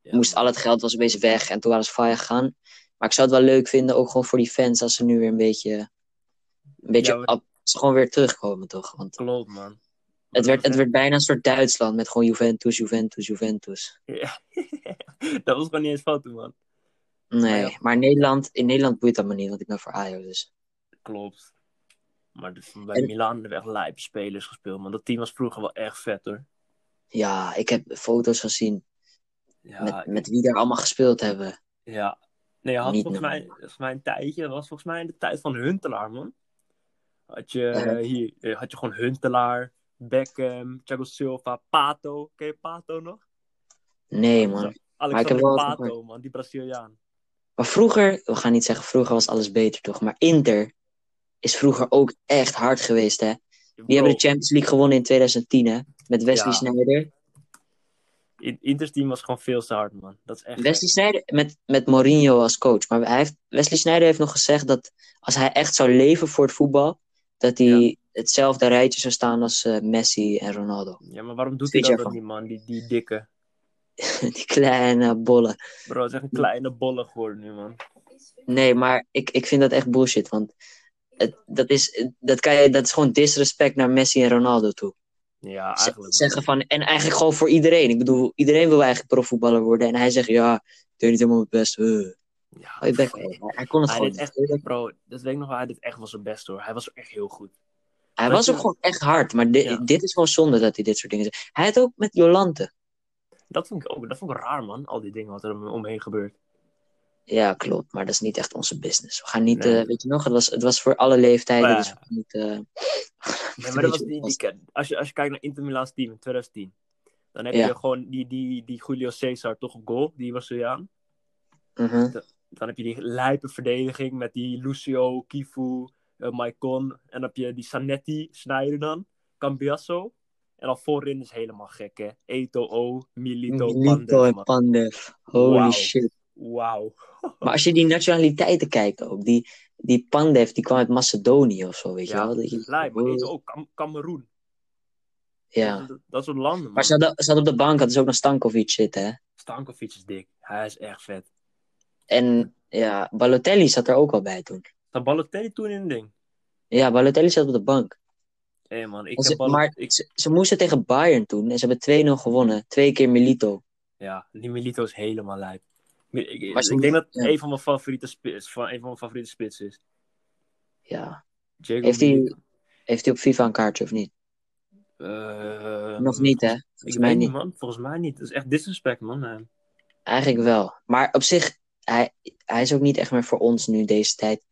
Speaker 2: Ja,
Speaker 1: moest
Speaker 2: man.
Speaker 1: al het geld was opeens weg. En toen waren ze fire gegaan. Maar ik zou het wel leuk vinden, ook gewoon voor die fans, als ze nu weer een beetje, een beetje,
Speaker 2: Ja, maar-
Speaker 1: ab- als ze gewoon weer terugkomen toch. Want
Speaker 2: Klopt, man.
Speaker 1: het werd, het werd bijna een soort Duitsland met gewoon Juventus, Juventus, Juventus.
Speaker 2: Ja. dat was gewoon niet eens fout, man.
Speaker 1: Nee,
Speaker 2: Ah, Ja, ja.
Speaker 1: maar Nederland, in Nederland boeit dat me niet, want ik ben voor Ajax. Dus.
Speaker 2: Klopt. Maar de- bij
Speaker 1: En-
Speaker 2: Milan hebben we echt lijpe spelers gespeeld. Maar dat team was vroeger wel echt vet hoor.
Speaker 1: Ja, ik heb foto's gezien
Speaker 2: Ja,
Speaker 1: met, met wie daar allemaal gespeeld hebben.
Speaker 2: ja. Nee, je had
Speaker 1: Niet
Speaker 2: volgens mij, volgens mij een tijdje, dat was volgens mij in de tijd van Huntelaar man. Had je,
Speaker 1: Ja.
Speaker 2: eh, hier, eh, had je gewoon Huntelaar, Beckham, Thiago Silva, Pato. Ken je Pato nog?
Speaker 1: Nee, man. ik heb
Speaker 2: Alexander
Speaker 1: wel wat
Speaker 2: Pato
Speaker 1: gehoord.
Speaker 2: man, die Braziliaan.
Speaker 1: Maar vroeger, we gaan niet zeggen vroeger was alles beter, toch? Maar Inter is vroeger ook echt hard geweest, hè? Die hebben de Champions League gewonnen in 2010, hè? Met Wesley
Speaker 2: Ja.
Speaker 1: Sneijder.
Speaker 2: In- Inter's team was gewoon veel te hard man. Dat is echt
Speaker 1: Wesley Sneijder met, met Mourinho als coach. Maar hij heeft, Wesley Sneijder heeft nog gezegd dat als hij echt zou leven voor het voetbal, dat hij
Speaker 2: Ja.
Speaker 1: hetzelfde rijtje zou staan als eh, Messi en Ronaldo.
Speaker 2: Ja, maar waarom doet hij
Speaker 1: Vind jij
Speaker 2: dat dan
Speaker 1: van?
Speaker 2: niet man, die, die dikke?
Speaker 1: Die kleine bollen.
Speaker 2: Bro, het is echt
Speaker 1: Hm.
Speaker 2: een kleine bolle geworden nu man.
Speaker 1: Nee, maar ik, ik vind dat echt bullshit. Want het, dat, is, dat, kan je, dat is gewoon disrespect naar Messi en Ronaldo toe.
Speaker 2: Ja,
Speaker 1: Z-
Speaker 2: eigenlijk. wel.
Speaker 1: zeggen van, en eigenlijk gewoon voor iedereen. Ik bedoel, iedereen wil eigenlijk profvoetballer worden. En hij zegt, ja, ik deed niet helemaal mijn best. eh.
Speaker 2: Ja,
Speaker 1: Hou je bek, man. hij, hij kon het
Speaker 2: Hij
Speaker 1: gewoon
Speaker 2: deed
Speaker 1: niet.
Speaker 2: Bro, dat weet ik nog wel. Hij deed echt wel zijn best hoor. Hij was echt heel goed.
Speaker 1: Hij was ook gewoon echt hard. Maar di-
Speaker 2: Ja.
Speaker 1: dit is gewoon zonde dat hij dit soort dingen zegt. Hij had ook met Jolante.
Speaker 2: Dat vond ik ook dat vond ik raar, man. Al die dingen wat er om- omheen gebeurt.
Speaker 1: Ja, klopt. Maar dat is niet echt onze business. We gaan niet,
Speaker 2: Nee. Oh
Speaker 1: eh, weet je nog, het was, het was voor alle leeftijden.
Speaker 2: Ja.
Speaker 1: Dus we gaan niet, eh,
Speaker 2: Nee,
Speaker 1: een
Speaker 2: maar dat was
Speaker 1: beetje
Speaker 2: die, die,
Speaker 1: oppassen.
Speaker 2: ken- als, je, als je kijkt naar Inter Milaan's team in 2010. Dan heb
Speaker 1: Ja.
Speaker 2: je gewoon die, die, die Julio Cesar toch op goal. Die was aan.
Speaker 1: Mhm.
Speaker 2: Dan heb je die lijpe verdediging met die Lucio, Kifu, eh Maicon. En dan heb je die Sanetti, Snyder dan. Cambiasso. En dan voorin is helemaal gek, hè. Eto'o, Milito,
Speaker 1: Lito
Speaker 2: Pandev,
Speaker 1: en
Speaker 2: man.
Speaker 1: Pandev. Holy
Speaker 2: Wauw.
Speaker 1: shit.
Speaker 2: Wauw.
Speaker 1: Maar als je die nationaliteiten kijkt ook. Die, die Pandev, die kwam uit Macedonië of zo, weet
Speaker 2: Ja,
Speaker 1: je wel. Die- Oh,
Speaker 2: Lijp, maar Eto'o, Kam- Kameroen.
Speaker 1: Ja.
Speaker 2: Dat, dat soort landen,
Speaker 1: Maar
Speaker 2: man.
Speaker 1: ze hadden, ze hadden op de bank hadden ze ook nog Stankovic zitten, hè?
Speaker 2: Stankovic is dik. Hij is echt vet.
Speaker 1: En ja, Balotelli zat er ook al bij toen.
Speaker 2: Zat Balotelli toen in een ding?
Speaker 1: Ja, Balotelli zat op de bank.
Speaker 2: Hé man, ik
Speaker 1: En
Speaker 2: heb
Speaker 1: ze,
Speaker 2: Bal-
Speaker 1: maar
Speaker 2: ik-
Speaker 1: ze, ze moesten tegen Bayern toen en ze hebben 2-0 gewonnen. Twee keer Milito.
Speaker 2: Ja, die Milito is helemaal lijp. Ik, ik-
Speaker 1: Maar ze-
Speaker 2: ik denk dat
Speaker 1: ja.
Speaker 2: een van mijn favoriete spits, van, een van mijn favoriete spits is.
Speaker 1: Ja.
Speaker 2: Diego
Speaker 1: Heeft hij-
Speaker 2: Milito.
Speaker 1: Heeft hij op FIFA een kaartje of niet?
Speaker 2: Eh,
Speaker 1: Nog niet, hè?
Speaker 2: Ik
Speaker 1: mij
Speaker 2: weet niet,
Speaker 1: niet.
Speaker 2: man. Volgens mij niet. Dat is echt disrespect, man. Eh,
Speaker 1: Eigenlijk wel. Maar op zich, hij, hij is ook niet echt meer voor ons nu deze tijd.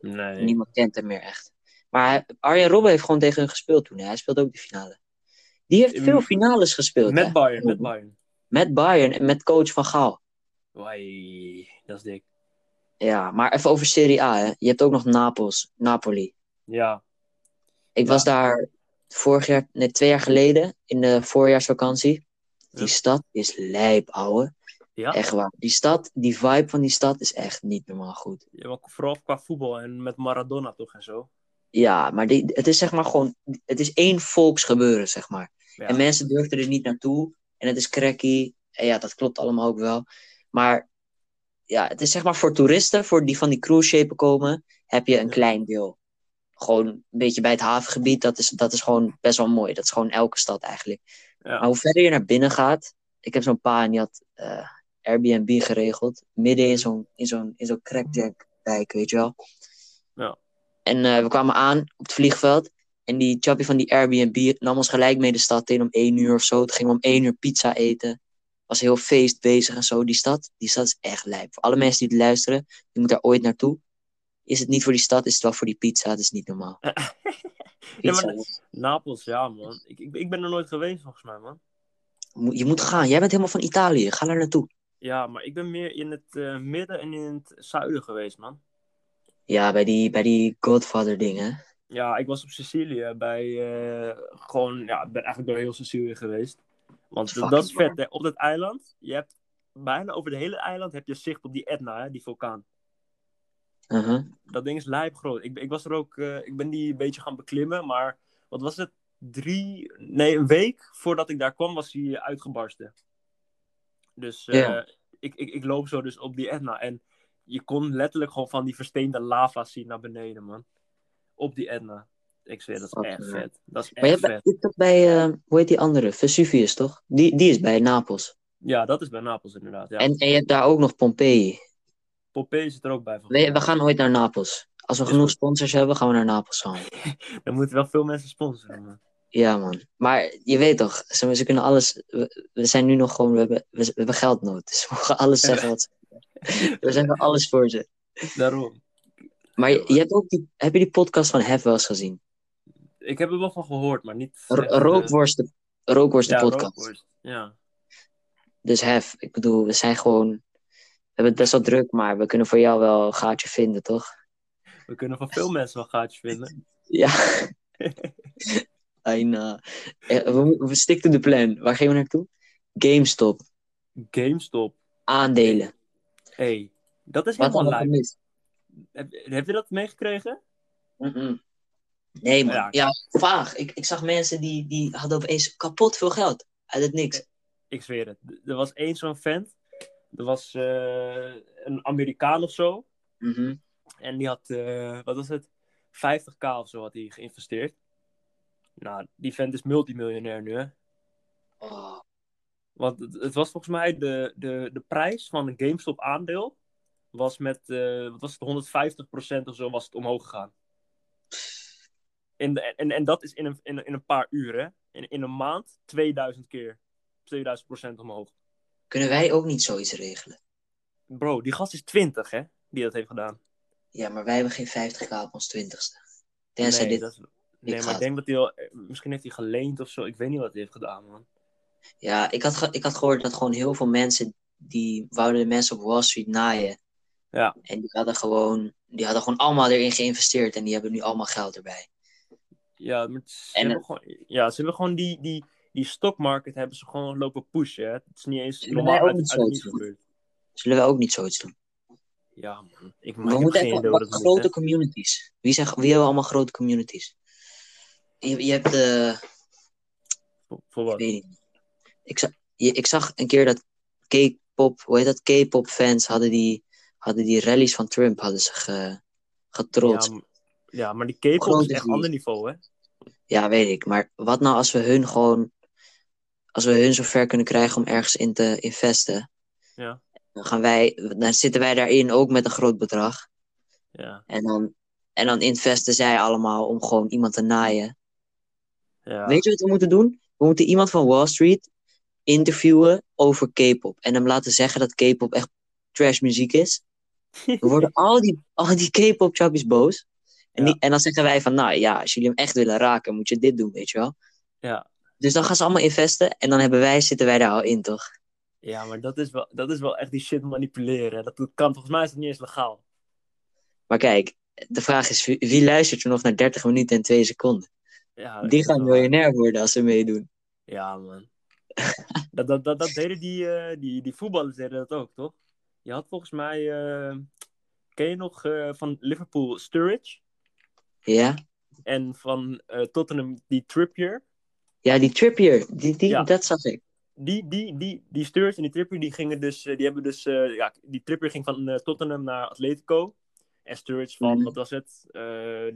Speaker 2: Nee.
Speaker 1: Niemand kent hem meer echt. Maar hij- Arjen Robben heeft gewoon tegen hun gespeeld toen. hè. Hij speelde ook de finale. Die heeft
Speaker 2: In-
Speaker 1: veel finales gespeeld. hè?
Speaker 2: Ehm, Met Bayern, met Bayern.
Speaker 1: met Bayern en met coach van Gaal.
Speaker 2: Wai, dat is dik.
Speaker 1: Ja, maar even over Serie A. Hè. Je hebt ook nog Napels, Napoli.
Speaker 2: Ja,
Speaker 1: Ik
Speaker 2: Ja.
Speaker 1: was daar vorig jaar, nee, twee jaar geleden in de voorjaarsvakantie. Die
Speaker 2: Ja.
Speaker 1: stad is lijp, ouwe.
Speaker 2: ja.
Speaker 1: Echt waar. Die stad, die vibe van die stad is echt niet normaal goed.
Speaker 2: ja maar vooral qua voetbal en met Maradona toch en zo.
Speaker 1: Ja, maar die, het is zeg maar gewoon, het is één volksgebeuren, zeg maar.
Speaker 2: Ja.
Speaker 1: En mensen durfden er niet naartoe. En het is cracky. En ja, dat klopt allemaal ook wel. Maar ja, het is zeg maar voor toeristen, voor die van die cruise schepen komen, heb je een
Speaker 2: Ja.
Speaker 1: klein deel. Gewoon een beetje bij het havengebied, dat is, dat is gewoon best wel mooi. Dat is gewoon elke stad eigenlijk.
Speaker 2: Ja.
Speaker 1: Maar hoe verder je naar binnen gaat, ik heb zo'n pa en die had eh, Airbnb geregeld, midden in zo'n, in zo'n, in zo'n crackjack-wijk, weet je wel.
Speaker 2: Ja.
Speaker 1: En eh, we kwamen aan op het vliegveld en die chappie van die Airbnb nam ons gelijk mee de stad in om één uur of zo. Toen gingen we om één uur pizza eten. Was heel feest bezig en zo. Die stad, die stad is echt lijp. Voor alle mensen die het luisteren, die moeten daar ooit naartoe. Is het niet voor die stad, is het wel voor die pizza. Dat is niet normaal.
Speaker 2: Ja,
Speaker 1: Pizza,
Speaker 2: Eh. maar Napels, ja, man. Ik, ik, ik ben er nooit geweest, volgens mij, man.
Speaker 1: Mo- Je moet gaan. Jij bent helemaal van Italië. Ga daar naartoe.
Speaker 2: Ja, maar ik ben meer in het eh, midden en in het zuiden geweest, man.
Speaker 1: Ja, bij die, bij die Godfather dingen.
Speaker 2: Ja, ik was op Sicilië bij eh, gewoon, ja, ik ben eigenlijk door heel Sicilië geweest. Want
Speaker 1: Fucking
Speaker 2: dat is
Speaker 1: man.
Speaker 2: vet, hè. Op dat eiland, je hebt bijna over het hele eiland heb je zicht op die Etna, hè, die vulkaan.
Speaker 1: uh
Speaker 2: Dat ding is lijpgroot. Ik, ik was er ook, eh, ik ben die een beetje gaan beklimmen, maar wat was het? Drie, nee, een week voordat ik daar kwam, was hij uitgebarsten. Dus eh,
Speaker 1: Ja.
Speaker 2: ik, ik, ik loop zo dus op die Etna en je kon letterlijk gewoon van die versteende lava zien naar beneden, man. Op die Etna. Ik zweer, dat is
Speaker 1: Fucking
Speaker 2: echt
Speaker 1: hell.
Speaker 2: vet. Dat is
Speaker 1: Maar je
Speaker 2: echt
Speaker 1: hebt
Speaker 2: vet.
Speaker 1: je hebt ook bij, eh, hoe heet die andere? Vesuvius, toch? Die, die is bij Napels.
Speaker 2: Ja, dat is bij Napels inderdaad. Ja.
Speaker 1: En, en je hebt daar ook nog Pompeii.
Speaker 2: Pompeii zit er ook bij. volgens
Speaker 1: We, we
Speaker 2: mij.
Speaker 1: gaan ooit naar Napels. Als we
Speaker 2: Is
Speaker 1: genoeg
Speaker 2: goed.
Speaker 1: sponsors hebben, gaan we naar Napels gaan.
Speaker 2: Er moeten wel veel mensen sponsoren, man.
Speaker 1: Ja, man. Maar je weet toch, zeg maar, ze kunnen alles. We, we zijn nu nog gewoon. We hebben, we, we hebben geldnood. Dus we mogen alles zeggen wat ze- We zijn wel alles voor ze.
Speaker 2: Daarom.
Speaker 1: Maar je, je hebt ook die, heb je die podcast van Hef wel eens gezien?
Speaker 2: Ik heb er wel van gehoord, maar niet...
Speaker 1: R-
Speaker 2: echt, eh,
Speaker 1: Rookworst, de, Rookworst, de
Speaker 2: ja,
Speaker 1: podcast.
Speaker 2: rookworst. Ja.
Speaker 1: Dus Hef, ik bedoel, we zijn gewoon. We hebben het best wel druk, maar we kunnen voor jou wel een gaatje vinden, toch?
Speaker 2: We kunnen van veel mensen wel gaatjes vinden.
Speaker 1: Ja. en, eh, eh, we, mo- we stick to the plan. Waar gaan we naartoe? GameStop.
Speaker 2: GameStop.
Speaker 1: Aandelen.
Speaker 2: hey, dat is
Speaker 1: Wat
Speaker 2: helemaal
Speaker 1: allemaal
Speaker 2: lijp.
Speaker 1: mis?
Speaker 2: Heb, heb je dat meegekregen?
Speaker 1: Mm-mm. Nee, man.
Speaker 2: Ja.
Speaker 1: Ja, vaag. Ik, ik zag mensen die, die hadden opeens kapot veel geld. Uit het niks.
Speaker 2: Ik zweer het. Er was één zo'n vent. Er was eh, een Amerikaan of zo.
Speaker 1: Mhm.
Speaker 2: En die had, eh, wat was het? 50k of zo had hij geïnvesteerd. Nou, die vent is multimiljonair nu, hè?
Speaker 1: Oh,
Speaker 2: Want het, het was volgens mij de, de, de prijs van een GameStop aandeel. Was met, eh, wat was het, 150% of zo was het omhoog gegaan. In de, en, en dat is in een, in, een- in een paar uren. In, in een maand 2000 keer. 2000% omhoog.
Speaker 1: Kunnen wij ook niet zoiets regelen?
Speaker 2: Bro, die gast is 20 hè, die dat heeft gedaan.
Speaker 1: Ja, maar wij hebben geen 50k op ons 20ste. Tenzij
Speaker 2: nee,
Speaker 1: dit...
Speaker 2: dat is- nee maar
Speaker 1: gaat.
Speaker 2: ik denk dat hij al, eh, misschien heeft hij geleend of zo. Ik weet niet wat hij heeft gedaan, man.
Speaker 1: Ja, ik had, ge- ik had gehoord dat gewoon heel veel mensen... die wouden de mensen op Wall Street naaien.
Speaker 2: Ja.
Speaker 1: En die hadden gewoon... die hadden gewoon allemaal erin geïnvesteerd... en die hebben nu allemaal geld erbij.
Speaker 2: Ja, maar ze,
Speaker 1: En
Speaker 2: hebben gewoon, ja, ze hebben gewoon die, die, die stockmarket hebben ze gewoon lopen pushen. Hè? Het is niet eens
Speaker 1: Zullen wij
Speaker 2: normaal
Speaker 1: ook
Speaker 2: uit,
Speaker 1: niet
Speaker 2: uit het
Speaker 1: zoiets
Speaker 2: niets gebeurd.
Speaker 1: Zullen wij ook niet zoiets doen?
Speaker 2: Ja, man. Ik, maar
Speaker 1: We
Speaker 2: ik heb
Speaker 1: moeten
Speaker 2: geen
Speaker 1: echt
Speaker 2: idee
Speaker 1: wat
Speaker 2: hoe dat moet,
Speaker 1: grote
Speaker 2: hè.
Speaker 1: communities. Wie, zijn, wie hebben allemaal grote communities? Je, je hebt... eh,
Speaker 2: Voor, voor
Speaker 1: Ik
Speaker 2: wat?
Speaker 1: weet niet. Ik, za- je- ik zag een keer dat K-pop, hoe heet dat? K-pop fans hadden die, hadden die rallies van Trump hadden ze ge, getrotst.
Speaker 2: Ja, m- ja, maar die K-pop
Speaker 1: Grote
Speaker 2: is echt
Speaker 1: vuur.
Speaker 2: ander niveau, hè?
Speaker 1: Ja. weet ik. Maar wat nou als we hun gewoon, als we hun zover kunnen krijgen om ergens in te investen?
Speaker 2: Ja.
Speaker 1: Dan gaan wij, dan zitten wij daarin ook met een groot bedrag.
Speaker 2: Ja,
Speaker 1: En dan, en dan investen zij allemaal om gewoon iemand te naaien.
Speaker 2: ja.
Speaker 1: Weet je wat we moeten doen? We moeten iemand van Wall Street interviewen over K-pop. En hem laten zeggen dat K-pop echt trash muziek is. Dan worden al die, al die K-pop chappies boos. En,
Speaker 2: Ja.
Speaker 1: die, en dan zeggen wij van, nou ja, als jullie hem echt willen raken, moet je dit doen, weet je wel.
Speaker 2: Ja.
Speaker 1: Dus dan gaan ze allemaal investen en dan hebben wij, zitten wij daar al in, toch?
Speaker 2: ja, maar dat is, wel, dat is wel echt die shit manipuleren. hè. Dat kan, volgens mij is het niet eens legaal.
Speaker 1: Maar kijk, de vraag is, wie, wie luistert er nog naar 30 minuten en 2 seconden?
Speaker 2: Ja, dat
Speaker 1: Die
Speaker 2: is
Speaker 1: gaan
Speaker 2: wel-
Speaker 1: miljonair worden als ze meedoen.
Speaker 2: Ja, man. dat, dat, dat, dat deden die, eh, die, die voetballers deden dat ook, toch? Je had volgens mij... eh, ken je nog eh, van Liverpool Sturridge?
Speaker 1: Ja?
Speaker 2: En van eh, Tottenham die Trippier?
Speaker 1: Ja, die Trippier, die, die,
Speaker 2: Ja.
Speaker 1: dat zag ik.
Speaker 2: Die, die, die, die Sturridge en die Trippier die gingen dus... eh, die hebben dus eh, ja, die Trippier ging van eh, Tottenham naar Atletico. En Sturridge van,
Speaker 1: Mhm.
Speaker 2: wat was het? Eh,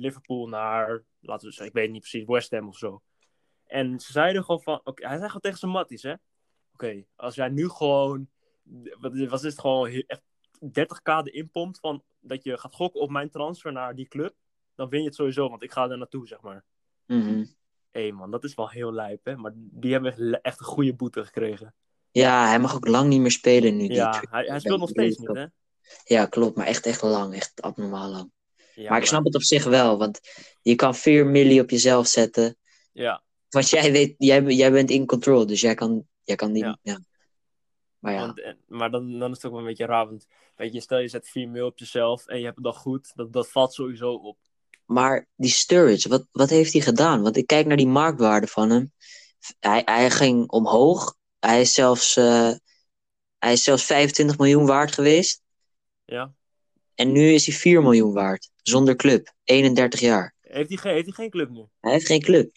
Speaker 2: Liverpool naar, laten we zeggen, ik weet niet precies, West Ham of zo. En ze zeiden gewoon van, oké, hij zei gewoon tegen zijn matties, hè. Oké, als jij nu gewoon, wat was het gewoon, he- echt 30k de inpompt van dat je gaat gokken op mijn transfer naar die club, dan win je het sowieso, want ik ga daar naartoe, zeg maar.
Speaker 1: Mhm.
Speaker 2: Hé man, dat is wel heel lijp, hè. Maar die hebben echt le- echt een goede boete gekregen.
Speaker 1: Ja, hij mag ook lang niet meer spelen nu. die
Speaker 2: Ja,
Speaker 1: Trippier.
Speaker 2: hij, hij speelt nog steeds niet, hè.
Speaker 1: Ja, klopt, maar echt, echt lang. Echt abnormaal lang.
Speaker 2: Ja,
Speaker 1: maar ik snap het op zich wel, want je kan 4 milli op jezelf zetten.
Speaker 2: Ja,
Speaker 1: Want jij, weet, jij, jij bent in control, dus jij kan, jij kan niet.
Speaker 2: Ja.
Speaker 1: Ja. Maar ja,
Speaker 2: Want, en- maar dan, dan is het ook wel een beetje raar. Want weet je, stel je zet 4 mil op jezelf en je hebt het dan goed, dat, dat valt sowieso op.
Speaker 1: maar die Sturridge, wat, wat heeft hij gedaan? Want ik kijk naar die marktwaarde van hem. Hij, hij ging omhoog. Hij is, zelfs, eh, hij is zelfs 25 miljoen waard geweest.
Speaker 2: Ja.
Speaker 1: En nu is hij 4 miljoen waard. Zonder club. 31 jaar.
Speaker 2: Heeft hij, geen- heeft hij geen club nu?
Speaker 1: Hij heeft geen club.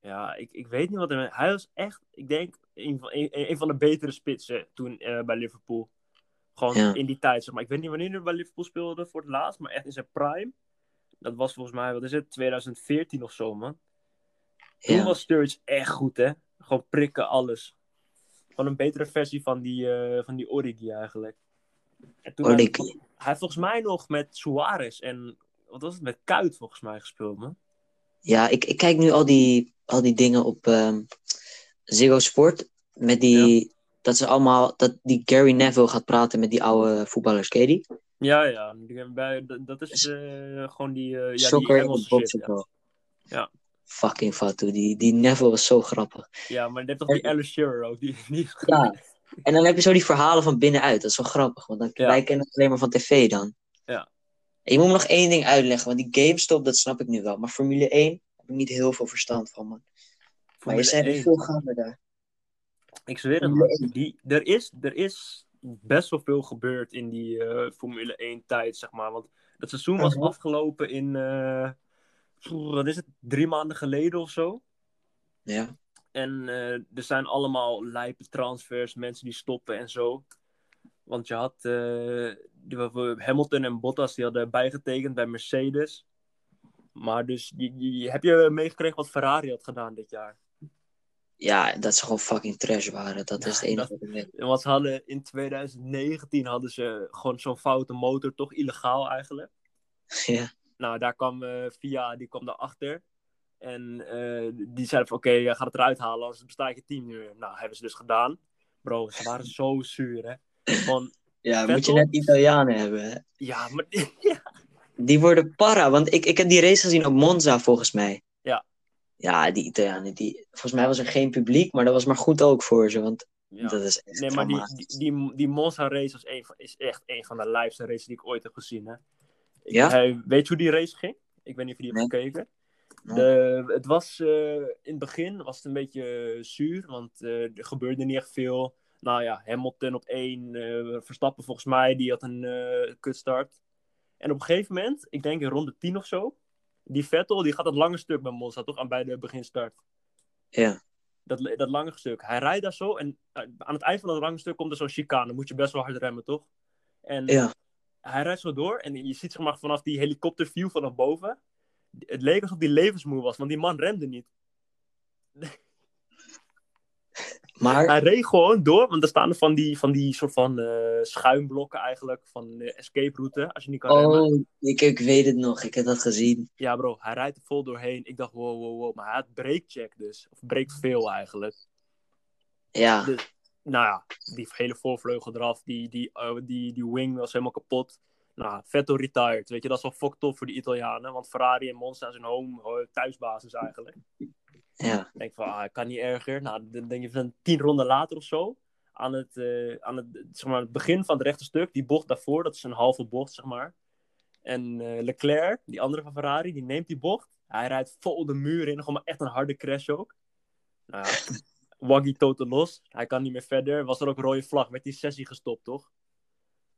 Speaker 2: Ja, ik, ik weet niet wat er. Hij was echt, ik denk, een van, een, een van de betere spitsen toen eh, bij Liverpool. Gewoon
Speaker 1: Ja.
Speaker 2: in die tijd, zeg maar. Ik weet niet wanneer hij bij Liverpool speelde voor het laatst, maar echt in zijn prime. Dat was volgens mij, wat is het, 2014 of zo, man. Toen
Speaker 1: Ja.
Speaker 2: was Sturridge echt goed, hè? Gewoon prikken, alles. Gewoon een betere versie van die, eh, van die Origi eigenlijk. En toen
Speaker 1: Origi.
Speaker 2: Hij, hij heeft volgens mij nog met Suarez en... Wat was het? Met Kuit volgens mij gespeeld, man.
Speaker 1: Ja, ik, ik kijk nu al die, al die dingen op ehm Ziggo Sport. Met die, dat ze allemaal, dat die Gary Neville gaat praten met die oude voetballers, ken je die?
Speaker 2: Ja, ja. die hebben Bij, dat, dat is eh, gewoon die, eh ja, die
Speaker 1: Soccer en
Speaker 2: Engelse shit.
Speaker 1: Bob
Speaker 2: Ja.
Speaker 1: Sokol.
Speaker 2: Ja.
Speaker 1: Fucking fatu, die, die Neville was zo grappig.
Speaker 2: ja, maar je hebt toch die Alan Shearer ook? Die, die is goed.
Speaker 1: Ja. En dan heb je zo die verhalen van binnenuit, dat is wel grappig, want dan,
Speaker 2: Ja.
Speaker 1: wij kennen het alleen maar van tv dan.
Speaker 2: Ja.
Speaker 1: En je moet me nog één ding uitleggen, want die GameStop, dat snap ik nu wel. Maar Formule 1 heb ik niet heel veel verstand van, man. Maar je
Speaker 2: Formule
Speaker 1: zijn er
Speaker 2: 1.
Speaker 1: veel gaande daar.
Speaker 2: Ik zweer het,
Speaker 1: Formule
Speaker 2: man. Die, er, is, er is best wel veel gebeurd in die eh, Formule 1-tijd, zeg maar. Want dat seizoen was
Speaker 1: Mhm.
Speaker 2: afgelopen in, eh, pff, wat is het, drie maanden geleden of zo.
Speaker 1: Ja.
Speaker 2: En eh, er zijn allemaal lijpe transfers, mensen die stoppen en zo. Want je had eh, die- Hamilton en Bottas, die hadden bijgetekend bij Mercedes. Maar dus, je, je- heb je meegekregen wat Ferrari had gedaan dit jaar?
Speaker 1: Ja, dat ze gewoon fucking trash waren. Dat is het
Speaker 2: Ja,
Speaker 1: enige
Speaker 2: dat-
Speaker 1: wat ik weet.
Speaker 2: Want ze hadden in 2019 hadden ze gewoon zo'n foute motor, toch illegaal eigenlijk.
Speaker 1: Ja.
Speaker 2: Nou, daar kwam eh Via, die kwam daarachter. En eh, die zei van, oké, je gaat het eruit halen, anders bestaat je team niet meer. Nou, hebben ze dus gedaan. Bro, ze waren zo zuur, hè. Van,
Speaker 1: Ja,
Speaker 2: Vettel?
Speaker 1: moet je net Italianen hebben. hè.
Speaker 2: ja, maar...
Speaker 1: Die worden para, want ik, ik heb die race gezien op Monza volgens mij.
Speaker 2: Ja.
Speaker 1: Ja, die Italianen, die, volgens mij was er geen publiek, maar dat was maar goed ook voor ze, want
Speaker 2: ja.
Speaker 1: dat is echt
Speaker 2: Nee, maar die,
Speaker 1: dramatisch.
Speaker 2: die, die, die Monza race was een van- is echt een van de lijpste races die ik ooit heb gezien, hè. Ik-
Speaker 1: Ja?
Speaker 2: hij- weet je hoe die race ging? Ik weet niet of je die hebt gekeken.
Speaker 1: Nee.
Speaker 2: De, het was eh, in het begin was het een beetje eh, zuur, want eh, er gebeurde niet echt veel. Nou ja, Hamilton op één, eh, Verstappen volgens mij, die had een eh kutstart. En op een gegeven moment, ik denk in ronde 10 of zo, die Vettel die gaat dat lange stuk bij Monza, toch? Aan bij de beginstart.
Speaker 1: Ja.
Speaker 2: Dat, dat lange stuk. Hij rijdt daar zo en eh, aan het eind van dat lange stuk komt er zo'n chicane. Dan moet je best wel hard remmen, toch? En
Speaker 1: Ja.
Speaker 2: hij rijdt zo door en je ziet zeg maar vanaf die helikopterview vanaf boven. Het leek alsof hij levensmoe was, want die man remde niet.
Speaker 1: Maar,
Speaker 2: Hij reed gewoon door, want er staan er van die, van die soort van eh, schuimblokken eigenlijk, van de escape route, als je niet kan remmen.
Speaker 1: oh, ik, ik weet het nog, ik heb dat gezien.
Speaker 2: Ja bro, hij rijdt er vol doorheen. Ik dacht wow, wow, wow, maar hij had breakcheck dus. Of breekt veel eigenlijk.
Speaker 1: Ja,
Speaker 2: Dus- Nou ja, die hele voorvleugel eraf, die, die, eh, die, die wing was helemaal kapot. Nou, Vettel retired, weet je, dat is wel fucked up voor die Italianen, want Ferrari en Monza zijn home, eh, thuisbasis eigenlijk.
Speaker 1: ja,
Speaker 2: denk van, ah, kan niet erger. Nou, dan denk je van tien ronden later of zo. Aan het, eh, aan het, zeg maar, het begin van het rechte stuk, die bocht daarvoor, dat is een halve bocht, zeg maar. En eh, Leclerc, die andere van Ferrari, die neemt die bocht. Hij rijdt vol de muur in, gewoon maar echt een harde crash ook. Nou ja, Waggy toten los. Hij kan niet meer verder. Was er ook een rode vlag, werd die sessie gestopt, toch?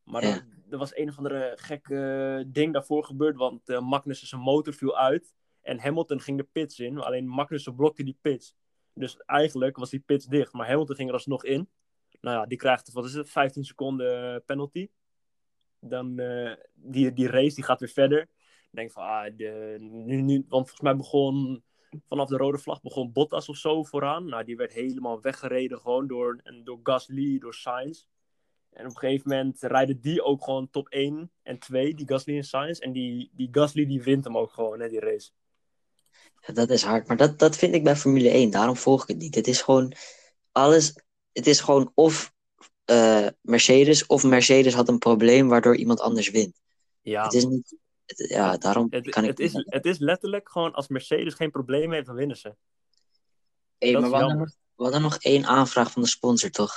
Speaker 2: Maar
Speaker 1: Ja.
Speaker 2: dat- er was een of andere gek eh, ding daarvoor gebeurd, want eh Magnussen zijn motor viel uit. En Hamilton ging de pits in. Alleen Magnussen blokte die pits. Dus eigenlijk was die pits dicht. Maar Hamilton ging er alsnog in. Nou ja, die krijgt, wat is het, 15 seconden eh, penalty. Dan eh, die, die race die gaat weer verder. Ik denk van, ah, de, nu, nu, want volgens mij begon vanaf de rode vlag begon Bottas of zo vooraan. Nou, die werd helemaal weggereden gewoon door, en door Gasly, door Sainz. En op een gegeven moment rijden die ook gewoon top 1 en 2, die Gasly en Sainz. En die, die Gasly die wint hem ook gewoon, hè, die race.
Speaker 1: Ja, dat is hard, maar dat, dat vind ik bij Formule 1. Daarom volg ik het niet. Het is gewoon alles. Het is gewoon of eh, Mercedes of Mercedes had een probleem waardoor iemand anders wint.
Speaker 2: Ja,
Speaker 1: Het is niet. het- ja, daarom
Speaker 2: het,
Speaker 1: kan ik.
Speaker 2: het, is,
Speaker 1: niet-
Speaker 2: het is letterlijk gewoon als Mercedes geen probleem heeft, dan winnen ze.
Speaker 1: Hey,
Speaker 2: dat
Speaker 1: maar
Speaker 2: is
Speaker 1: we hadden,
Speaker 2: jammer.
Speaker 1: nog, we hadden nog één aanvraag van de sponsor, toch?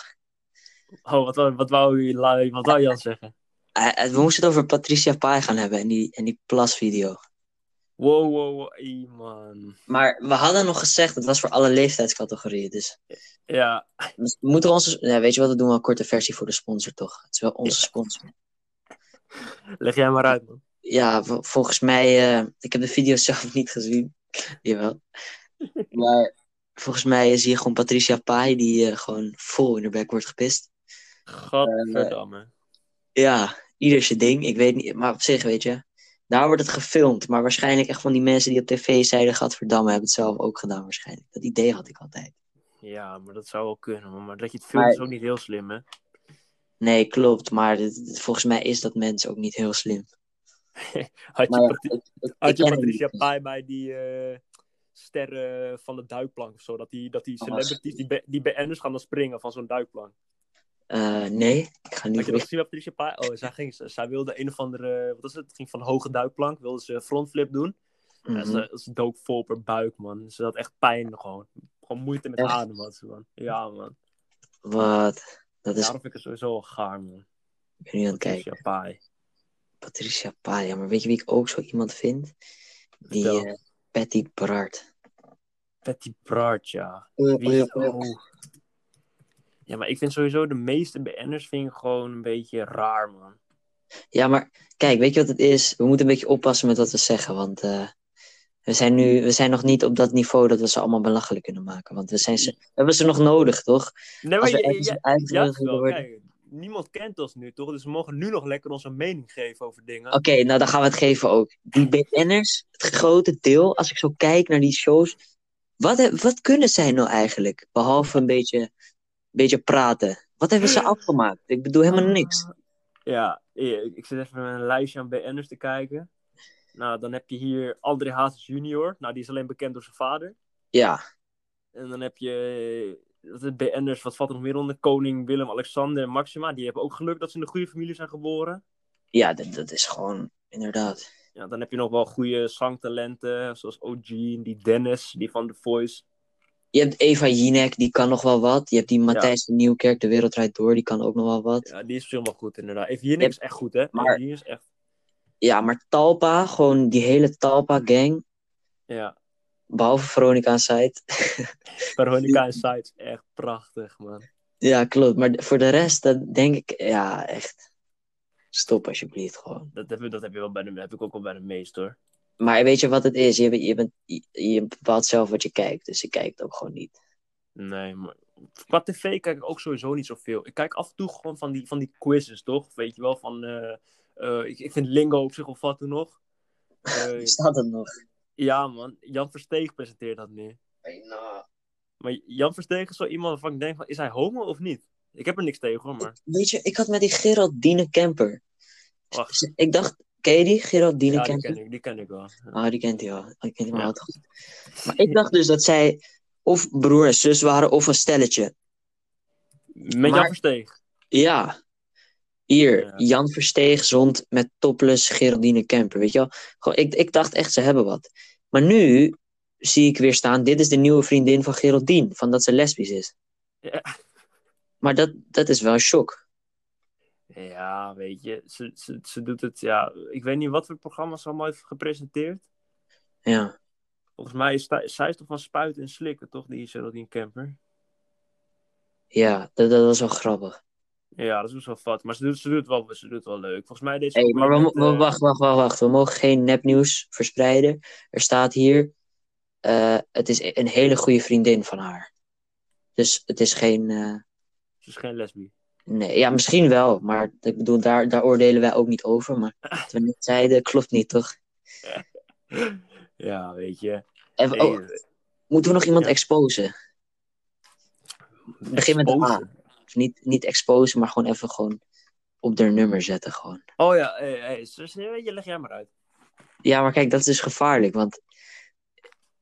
Speaker 2: Oh, wat, wou- wat, wou, je- la- wat wou Jan zeggen?
Speaker 1: Eh, eh, we moesten het over Patricia Pai gaan hebben en die, en die plasvideo.
Speaker 2: Wow, wow, wow, ey, man.
Speaker 1: Maar we hadden nog gezegd, het was voor alle leeftijdscategorieën. Dus
Speaker 2: Ja,
Speaker 1: we moeten we onze. Nee, weet je wat, we doen wel een korte versie voor de sponsor, toch? Het is wel onze sponsor.
Speaker 2: leg jij maar uit, man.
Speaker 1: ja, v- volgens mij, eh, ik heb de video zelf niet gezien. Jawel. Maar volgens mij zie je gewoon Patricia Pai die eh, gewoon vol in de bek wordt gepist.
Speaker 2: Godverdamme.
Speaker 1: Ja, ieder zijn ding. Ik weet niet, maar op zich weet je. Daar wordt het gefilmd, maar waarschijnlijk echt van die mensen die op tv zeiden: Gadverdamme, hebben het zelf ook gedaan, waarschijnlijk. Dat idee had ik altijd.
Speaker 2: Ja, maar dat zou wel kunnen, man. Maar dat je het filmt
Speaker 1: Maar-
Speaker 2: is ook niet heel slim, hè?
Speaker 1: Nee, klopt, maar dit- dit- volgens mij is dat mens ook niet heel slim.
Speaker 2: Had je,
Speaker 1: Maar ja,
Speaker 2: Patri-
Speaker 1: ik- ik-
Speaker 2: had
Speaker 1: ik
Speaker 2: je
Speaker 1: ken hem
Speaker 2: Patricia
Speaker 1: niet.
Speaker 2: Pai bij die eh, sterren van de duikplank of zo? Dat die, dat die
Speaker 1: Oh,
Speaker 2: celebrities, die, be- die BN'ers gaan dan springen van zo'n duikplank.
Speaker 1: Eh, nee, ik ga
Speaker 2: Had
Speaker 1: niet
Speaker 2: je dat gezien bij Patricia Pai? Oh, zij, ging, zij wilde een of andere, wat is het? Ging van hoge duikplank, wilde ze frontflip doen.
Speaker 1: Mhm.
Speaker 2: Ja, ze, ze dook vol op haar buik, man. Ze had echt pijn, gewoon. Gewoon moeite met
Speaker 1: Echt?
Speaker 2: ademen, had ze, man. Ja, man.
Speaker 1: Mhm, Wat? Dat is.
Speaker 2: Daarom vind ik het sowieso wel gaar, man.
Speaker 1: Ik ben nu aan het kijken.
Speaker 2: Patricia Pai.
Speaker 1: Patricia Pai, ja, maar weet je wie ik ook zo iemand vind? Die
Speaker 2: Vertel.
Speaker 1: eh Patty Brard.
Speaker 2: Patty Bart, ja. Wie is- oh. Ja, maar ik vind sowieso de meeste BN'ers vind ik gewoon een beetje raar, man.
Speaker 1: Ja, maar kijk, weet je wat het is? We moeten een beetje oppassen met wat we zeggen, want eh, we zijn nu we zijn nog niet op dat niveau dat we ze allemaal belachelijk kunnen maken. Want we, zijn ze, we hebben ze nog nodig, toch?
Speaker 2: Nee,
Speaker 1: Als
Speaker 2: maar
Speaker 1: we
Speaker 2: je,
Speaker 1: ergens
Speaker 2: je,
Speaker 1: uitgenodigd
Speaker 2: wel,
Speaker 1: willen worden.
Speaker 2: kijk, niemand kent ons nu, toch? Dus we mogen nu nog lekker onze mening geven over dingen.
Speaker 1: Oké, nou dan gaan we het geven ook. Die BN'ers, het grote deel, als ik zo kijk naar die shows, wat, he- wat kunnen zij nou eigenlijk? Behalve een beetje, beetje praten. Wat hebben ze afgemaakt? Ik bedoel helemaal niks.
Speaker 2: Ehm, Ah. Ja, ik, ik zit even naar een lijstje aan BN'ers te kijken. Nou, dan heb je hier André Hazes junior. Nou, die is alleen bekend door zijn vader.
Speaker 1: Ja,
Speaker 2: En dan heb je eh, wat is het, BN'ers, wat valt er nog meer onder? Koning Willem, Alexander en Maxima. Die hebben ook geluk dat ze in de goede familie zijn geboren.
Speaker 1: ja dat, dat is gewoon inderdaad.
Speaker 2: Ja, dan heb je nog wel goede zangtalenten, zoals OG en die Dennis, die van The Voice.
Speaker 1: Je hebt Eva Jinek, die kan nog wel wat. Je hebt die Matthijs de Nieuwkerk, De Wereld Draait Door, die kan ook nog wel wat. Ja,
Speaker 2: Ja, die is misschien wel goed, inderdaad. Even hier
Speaker 1: Ja,
Speaker 2: niks echt goed, hè?
Speaker 1: maar-
Speaker 2: Hier is echt...
Speaker 1: maar Talpa, gewoon die hele Talpa-gang,
Speaker 2: Ja,
Speaker 1: behalve Veronica aan Site.
Speaker 2: Veronica en Sides, echt prachtig, man.
Speaker 1: ja, klopt. Maar voor de rest, dat denk ik, ja, echt. Stop alsjeblieft gewoon.
Speaker 2: Dat heb, ik- dat heb, je wel bij de, heb ik ook wel bij de meest, hoor.
Speaker 1: Maar weet je wat het is? Je, bent- je, bent, je, je bepaalt zelf wat je kijkt, dus ik kijk het ook gewoon niet.
Speaker 2: Nee, maar qua tv kijk ik ook sowieso niet zoveel. Ik kijk af en toe gewoon van die, van die quizzes, toch? Weet je wel, van... eh, eh, ik, ik vind Lingo op zich of wat toen nog. Eh,
Speaker 1: Staat het nog?
Speaker 2: ja, man. Jan Versteeg presenteert dat nu.
Speaker 1: Nou,
Speaker 2: Maar Jan Versteeg is zo iemand waarvan ik denk van... Is hij homo of niet? Ik heb er niks tegen, hoor, maar...
Speaker 1: Weet je, ik had met die Geraldine Kemper. Dus
Speaker 2: Wacht,
Speaker 1: Ik dacht, ken je die? Geraldine
Speaker 2: ja, die
Speaker 1: Kemper?
Speaker 2: ken ik, die ken ik wel.
Speaker 1: Ah, die kent hij wel. Ik kent hij maar
Speaker 2: Ja.
Speaker 1: wel te goed. Maar ik dacht dus dat zij of broer en zus waren of een stelletje.
Speaker 2: Met Jan
Speaker 1: Maar-
Speaker 2: Versteeg.
Speaker 1: Ja. Hier,
Speaker 2: Ja.
Speaker 1: Jan Versteeg zond met topless Geraldine Kemper. Weet je wel? Gewoon, ik, ik dacht echt, ze hebben wat. Maar nu zie ik weer staan, dit is de nieuwe vriendin van Geraldine. Van dat ze lesbisch is.
Speaker 2: Ja.
Speaker 1: Maar dat, dat is wel een shock.
Speaker 2: Ja, weet je. Ze, ze, ze doet het, ja... Ik weet niet wat voor programma's ze allemaal heeft gepresenteerd.
Speaker 1: Ja.
Speaker 2: Volgens mij is zij- zij is toch van spuiten en slikken, toch? Die Geraldine Kemper.
Speaker 1: Ja, dat, dat was wel grappig.
Speaker 2: Ja, dat is wel vat. Maar ze doet, ze, doet het wel, ze doet het wel leuk. Volgens mij deze. eh,
Speaker 1: Hey, maar we, mo- we- wacht, wacht, wacht, wacht. We mogen geen nepnieuws verspreiden. Er staat hier, eh, het is e- een hele goede vriendin van haar. Dus het is geen, eh,
Speaker 2: Ze is geen lesbi.
Speaker 1: Nee, ja, misschien wel, maar ik bedoel, daar, daar oordelen wij ook niet over. Maar wat we net zeiden, klopt niet, toch?
Speaker 2: Ja, weet je.
Speaker 1: En,
Speaker 2: Hey,
Speaker 1: oh, moeten we nog iemand
Speaker 2: ja.
Speaker 1: exposen? Begin met de A.
Speaker 2: exposen.
Speaker 1: Of niet, niet exposen, maar gewoon even gewoon op haar nummer zetten. Gewoon.
Speaker 2: Oh ja, hey, hey, zus, eh, je leg jij maar uit.
Speaker 1: Ja, maar kijk, dat is dus gevaarlijk, want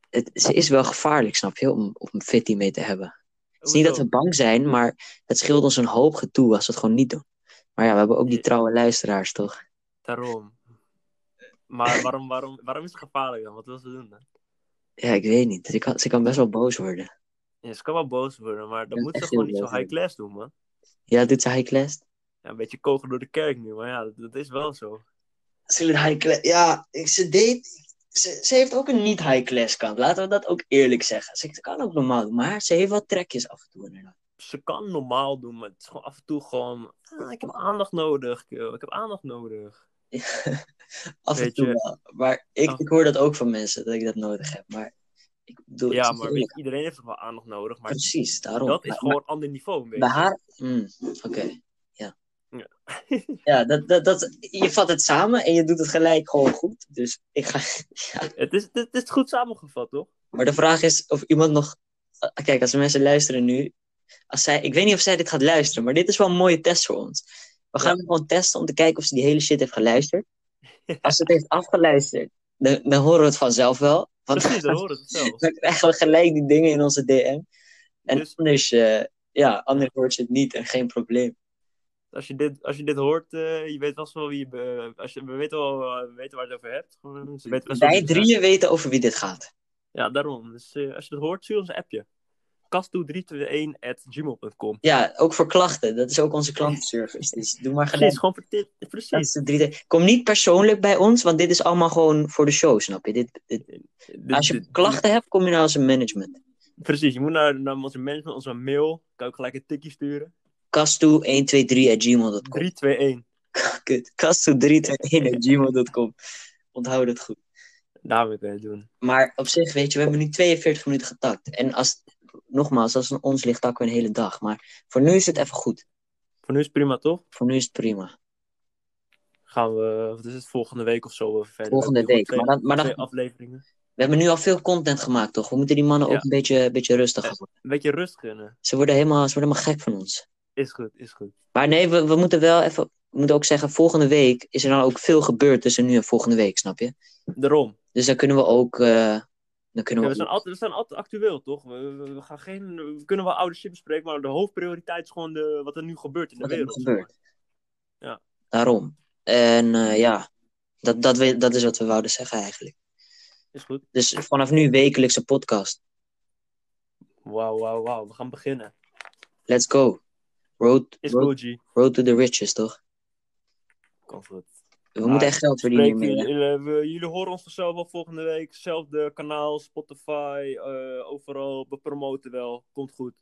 Speaker 1: het, ze is wel gevaarlijk, snap je, om, om Fitty mee te hebben. Het is niet dat
Speaker 2: Hoezo?
Speaker 1: we bang zijn, maar het scheelt ons een hoop gedoe als we het gewoon niet doen. Maar ja, we hebben ook die
Speaker 2: Ja.
Speaker 1: trouwe luisteraars, toch?
Speaker 2: Daarom. Maar waarom, waarom, waarom is het gevaarlijk dan? Wat wil ze doen dan?
Speaker 1: Ja, ik weet niet. Ze kan, ze kan best wel boos worden.
Speaker 2: Ja, ze kan wel boos worden, maar dan
Speaker 1: Ja,
Speaker 2: moet ze
Speaker 1: echt
Speaker 2: gewoon
Speaker 1: heel
Speaker 2: niet zo
Speaker 1: boos
Speaker 2: high class doen, man.
Speaker 1: Ja, doet ze high class?
Speaker 2: Ja, een beetje kogel door de kerk nu, maar ja, dat, dat is wel zo.
Speaker 1: Ze doet high class. Ja, ze deed... Ze, ze heeft ook een niet high class kant. Laten we dat ook eerlijk zeggen. Ze kan ook normaal doen, maar ze heeft wel trekjes af en toe inderdaad.
Speaker 2: Ze kan normaal doen, maar het is gewoon af en toe gewoon... "Ah, ik heb aandacht nodig, kerel. Ik heb aandacht nodig.
Speaker 1: Af en
Speaker 2: Weet
Speaker 1: toe
Speaker 2: je. Ah.
Speaker 1: wel. Maar ik,
Speaker 2: Af-
Speaker 1: ik hoor dat ook van mensen, dat ik dat nodig heb. Maar ik bedoel... het
Speaker 2: Ja,
Speaker 1: is
Speaker 2: maar
Speaker 1: eerlijk.
Speaker 2: weet je, iedereen heeft wel aandacht nodig, maar
Speaker 1: Precies, daarom.
Speaker 2: dat is
Speaker 1: Maar-
Speaker 2: gewoon een ander niveau, weet
Speaker 1: Bij
Speaker 2: je.
Speaker 1: haar? Mm, Oké, ja.
Speaker 2: Ja.
Speaker 1: Ja, dat, dat, dat, je vat het samen en je doet het gelijk gewoon goed. Dus ik ga... Ja.
Speaker 2: Het is, het is goed samengevat, toch?
Speaker 1: Maar de vraag is of iemand nog... eh, Kijk, als er mensen luisteren nu... Als zij... Ik weet niet of zij dit gaat luisteren, maar dit is wel een mooie test voor ons. We gaan hem gewoon testen om te kijken of ze die hele shit heeft geluisterd. Als ze het heeft afgeluisterd, dan, dan horen we het vanzelf wel. Want
Speaker 2: Precies, dan hoor het zelfs.
Speaker 1: dan krijgen we gelijk die dingen in onze DM. En
Speaker 2: Dus-
Speaker 1: anders, eh, ja, anders hoort ze het niet en geen probleem.
Speaker 2: Als je dit, als je dit hoort, eh, je weet vast wel wie je... be- als je, we weten wel eh, we weten waar je het over hebt. Gewoon, Ze weten best wel
Speaker 1: Wij
Speaker 2: wie ze zijn.
Speaker 1: drieën weten over wie dit gaat.
Speaker 2: Ja, daarom. Dus eh, als je het hoort, stuur ons een appje. kastoe321 at gmail.com.
Speaker 1: Ja, ook voor klachten. Dat is ook onze klantenservice. Dus doe maar
Speaker 2: Precies,
Speaker 1: gelijk.
Speaker 2: gewoon voor tip. Precies.
Speaker 1: Laatste drie de- Kom niet persoonlijk bij ons, want dit is allemaal gewoon voor de show, snap je? Dit, dit,
Speaker 2: Dit-
Speaker 1: als je
Speaker 2: dit-
Speaker 1: klachten hebt, kom je naar onze management.
Speaker 2: Precies, je moet naar, naar onze management, onze mail. Kan ook gelijk een tikje sturen.
Speaker 1: kastoe123.gmail.com
Speaker 2: 321.
Speaker 1: Kut. kastoe321.gmail.com Onthoud het goed.
Speaker 2: Daarmee kun je het doen.
Speaker 1: Maar op zich, weet je, we hebben nu 42 minuten getakt. En als, nogmaals, als het aan ons ligt, takken we een hele dag. Maar voor nu is het even goed.
Speaker 2: Voor nu is het prima, toch?
Speaker 1: Voor nu is het prima.
Speaker 2: Gaan we, wat is het, volgende week of zo eh, verder?
Speaker 1: Volgende
Speaker 2: We hebben
Speaker 1: week,
Speaker 2: nog Twee,
Speaker 1: maar dan- maar dan-
Speaker 2: twee afleveringen.
Speaker 1: We hebben nu al veel content gemaakt, toch? We moeten die mannen
Speaker 2: Ja.
Speaker 1: ook een beetje, een beetje rustiger worden.
Speaker 2: Een beetje rust gunnen.
Speaker 1: Ze worden helemaal, ze worden helemaal gek van ons.
Speaker 2: Is goed, is goed.
Speaker 1: Maar nee, we, we moeten wel even. We moeten ook zeggen, volgende week is er dan ook veel gebeurd tussen nu en volgende week, snap je?
Speaker 2: Daarom.
Speaker 1: Dus dan kunnen we ook. eh, dan
Speaker 2: Ja,
Speaker 1: kunnen
Speaker 2: we,
Speaker 1: we.
Speaker 2: zijn altijd, we zijn altijd actueel, toch? We, we- we gaan geen, we kunnen wel oude shit bespreken, maar de hoofdprioriteit is gewoon de, wat er nu gebeurt in de
Speaker 1: Wat er nu
Speaker 2: wereld.
Speaker 1: gebeurt.
Speaker 2: Ja.
Speaker 1: Daarom. En eh, ja, dat, dat, we, dat is wat we wouden zeggen eigenlijk.
Speaker 2: Is goed.
Speaker 1: Dus vanaf nu wekelijkse podcast.
Speaker 2: Wauw, wauw, wauw. We gaan beginnen.
Speaker 1: Let's go. Road,
Speaker 2: Is
Speaker 1: road,
Speaker 2: goed, G.
Speaker 1: road to the riches, toch?
Speaker 2: Komt goed.
Speaker 1: We
Speaker 2: Ah,
Speaker 1: moeten echt geld verdienen
Speaker 2: Spreek,
Speaker 1: hiermee. hè?
Speaker 2: jullie- eh, we- jullie horen ons vanzelf wel volgende week. Zelfde kanaal, Spotify, eh, overal. We promoten wel. Komt goed.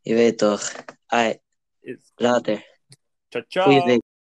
Speaker 1: Je weet toch. Ai,
Speaker 2: Is-
Speaker 1: later.
Speaker 2: Ciao, ciao.
Speaker 1: Goeie week.